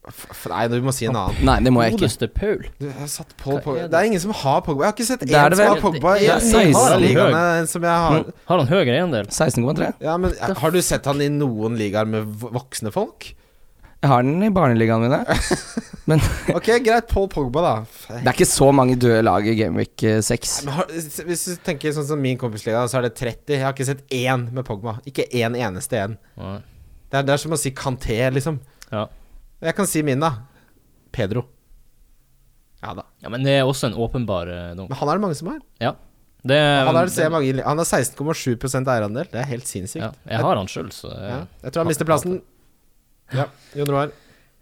Speaker 1: f f Nei, du må si en annen.
Speaker 4: Nei, det må jeg ikke.
Speaker 3: Godeste Paul.
Speaker 1: Du, jeg har satt Paul
Speaker 3: Hva er
Speaker 1: Pogba
Speaker 3: det?
Speaker 1: Det er ingen som har Pogba. Jeg har ikke sett
Speaker 4: Det
Speaker 1: én
Speaker 4: er det
Speaker 1: som har
Speaker 4: vel.
Speaker 1: Pogba i
Speaker 4: Det er
Speaker 1: noen av
Speaker 4: 16.
Speaker 1: ligaene som jeg har.
Speaker 3: Mm. Har han høyere eiendel?
Speaker 4: 16,3.
Speaker 1: Ja, men eh, Har du sett han i noen ligaer med vo- voksne folk?
Speaker 4: Jeg har den i barneligaene mine.
Speaker 1: Ok, greit. Paul Pogba, da. F-
Speaker 4: Det er ikke så mange døde lag i eh, Gameweek 6.
Speaker 1: Men har, hvis du tenker sånn som min kompisliga, så er det 30. Jeg har ikke sett én med Pogba. Ikke én eneste en.
Speaker 3: Nei.
Speaker 1: Det Det er, det er som å si Kanté, liksom.
Speaker 3: Ja.
Speaker 1: Jeg kan si min, da. Pedro. Ja da.
Speaker 3: Ja, men det er også en åpenbar eh, dunk.
Speaker 1: Men han er det mange som har.
Speaker 3: Ja. Det,
Speaker 1: Han er det ser jeg mange, i- han har 16,7 eierandel. Det er helt sinnssykt.
Speaker 3: ja, jeg har han sjøl, så eh, jeg,
Speaker 1: Ja. Jeg tror han mister plassen. Ja, Jon Roar.
Speaker 3: jeg har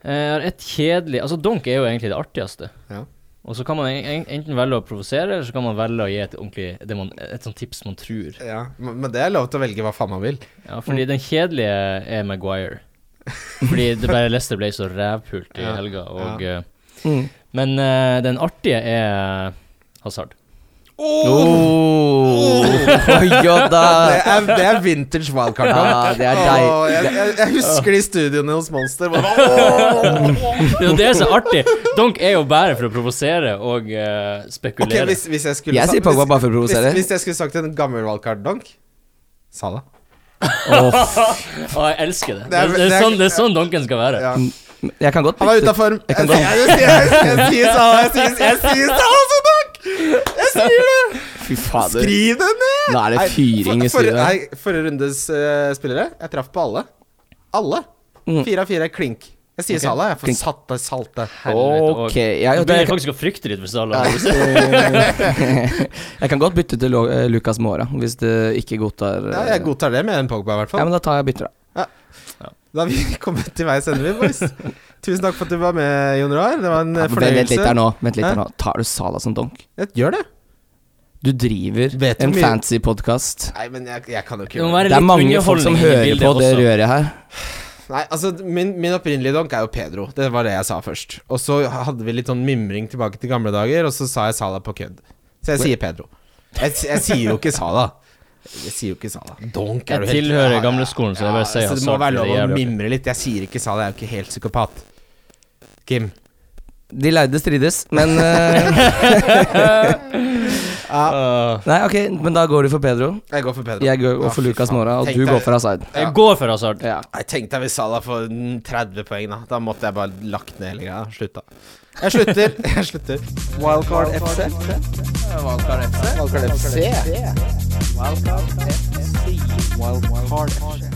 Speaker 3: Eh, et kjedelig Altså, dunk er jo egentlig det artigste.
Speaker 1: Ja.
Speaker 3: Og så kan man en- en- enten velge å provosere, eller så kan man velge å gi et ordentlig det man, Et sånt tips man tror.
Speaker 1: Ja, men men det er lov til å velge hva faen man vil.
Speaker 3: Ja,
Speaker 1: Mm.
Speaker 3: fordi den kjedelige er Maguire. Fordi det bare Leicester ble så rævpult i
Speaker 1: Ja,
Speaker 3: helga, og eh,
Speaker 4: Mm.
Speaker 3: Men eh, den artige er eh, Hazard.
Speaker 4: Oh. ja
Speaker 1: Det
Speaker 4: da.
Speaker 1: er, det er vintage wildcard. da.
Speaker 4: Ja, det er
Speaker 1: Åh,
Speaker 4: deg.
Speaker 1: jeg, jeg, jeg husker de studiene hos Monster. Bare, åh!
Speaker 3: Det er jo det som er artig. Donk er jo bare for å provosere og eh,
Speaker 1: Ok,
Speaker 3: spekulere.
Speaker 1: hvis, hvis jeg skulle
Speaker 4: Jeg
Speaker 1: sa-
Speaker 4: sier Pogba
Speaker 1: hvis-
Speaker 4: bare for å provosere.
Speaker 1: Hvis, hvis jeg skulle sagt en gammel wildcard-donk Sala.
Speaker 3: Og jeg elsker
Speaker 1: Det
Speaker 3: det. Det
Speaker 1: er-
Speaker 3: er,
Speaker 1: det er-
Speaker 3: sånn, det er sånn Donken skal være.
Speaker 1: Ja.
Speaker 4: Mm. Jeg kan godt
Speaker 1: Han er ute av form. Jeg, jeg, jeg, jeg, jeg, jeg, sier Sala, jeg, sier- jeg sier Sala som donk! Jeg sier det!
Speaker 4: Fy fader.
Speaker 1: Skriv det ned!
Speaker 4: Nå er det fyring i
Speaker 1: for, for,
Speaker 4: studio. her.
Speaker 1: nei, Forrige rundes eh, spillere, jeg traff på alle. Alle.
Speaker 4: Mm.
Speaker 1: Fire av fire klink. Jeg sier Sala, jeg. For
Speaker 4: klink.
Speaker 1: satte salte.
Speaker 3: Helvete, og-
Speaker 4: Ok. Jeg,
Speaker 3: Jeg
Speaker 4: jeg,
Speaker 3: begynner
Speaker 4: jeg,
Speaker 3: faktisk å frykte litt for Salah.
Speaker 4: jeg kan godt bytte til Lo- eh, Lucas Mora, hvis du ikke godtar eh,
Speaker 1: Ja, jeg godtar det med en Pogba, i hvert
Speaker 4: Ja,
Speaker 1: fall.
Speaker 4: men da tar jeg og bytter, da.
Speaker 1: Da har vi kommet til veis ende, vi, boys. Tusen takk for at du var med, Jon Roar. Det var en
Speaker 4: Ja,
Speaker 1: eh,
Speaker 4: men vent, vent litt
Speaker 1: fornøyelse.
Speaker 4: her nå. Vent litt
Speaker 1: Hæ?
Speaker 4: her nå. Tar du Sala som donk?
Speaker 1: Jeg gjør det.
Speaker 4: Du driver
Speaker 1: Vet du
Speaker 4: en
Speaker 1: mye-
Speaker 4: fancy podkast.
Speaker 1: Nei, men jeg, jeg kan jo
Speaker 3: Det
Speaker 1: ikke
Speaker 3: må
Speaker 1: gjøre
Speaker 4: Det
Speaker 1: det.
Speaker 3: være
Speaker 4: er
Speaker 3: litt
Speaker 4: mange folk som
Speaker 3: underholdning i
Speaker 4: hører
Speaker 3: bildet
Speaker 4: på det
Speaker 3: også.
Speaker 4: røret her.
Speaker 1: Nei, altså, min, min opprinnelige donk er jo Pedro. Det var det jeg sa først. Og så hadde vi litt sånn mimring tilbake til gamle dager, og så sa jeg Sala på kødd. Så jeg sier Pedro. Jeg, s- jeg sier jo ikke Sala. Jeg sier jo ikke Sala. Donk
Speaker 3: Jeg
Speaker 1: er du helt
Speaker 3: tilhører gamleskolen, så jeg bare sier
Speaker 1: så det må
Speaker 3: Hazard,
Speaker 1: være
Speaker 3: for det
Speaker 1: lov
Speaker 3: er
Speaker 1: å
Speaker 3: jævlig artig.
Speaker 1: mimre litt. Jeg sier ikke Sala, jeg er jo ikke helt psykopat. Kim.
Speaker 4: De lærde strides, men eh,
Speaker 3: Øh,
Speaker 4: Nei, ok, men da går du for Pedro.
Speaker 1: Jeg går for Pedro.
Speaker 4: Jeg går
Speaker 1: Ja,
Speaker 4: for
Speaker 1: fy
Speaker 4: Lucas
Speaker 1: faen.
Speaker 4: Mora, og
Speaker 1: Tenk
Speaker 4: du
Speaker 1: deg-
Speaker 4: går for Asaid.
Speaker 1: Ja.
Speaker 3: Jeg går for Hazard.
Speaker 4: Ja.
Speaker 1: Jeg tenkte jeg hvis Salah får 30 poeng, da. Da måtte jeg bare lagt ned hele greia. Slutta. Jeg slutter. Jeg slutter.
Speaker 5: Wildcard FC.
Speaker 2: Wildcard FC.
Speaker 5: Wildcard FC. Wildcard FC.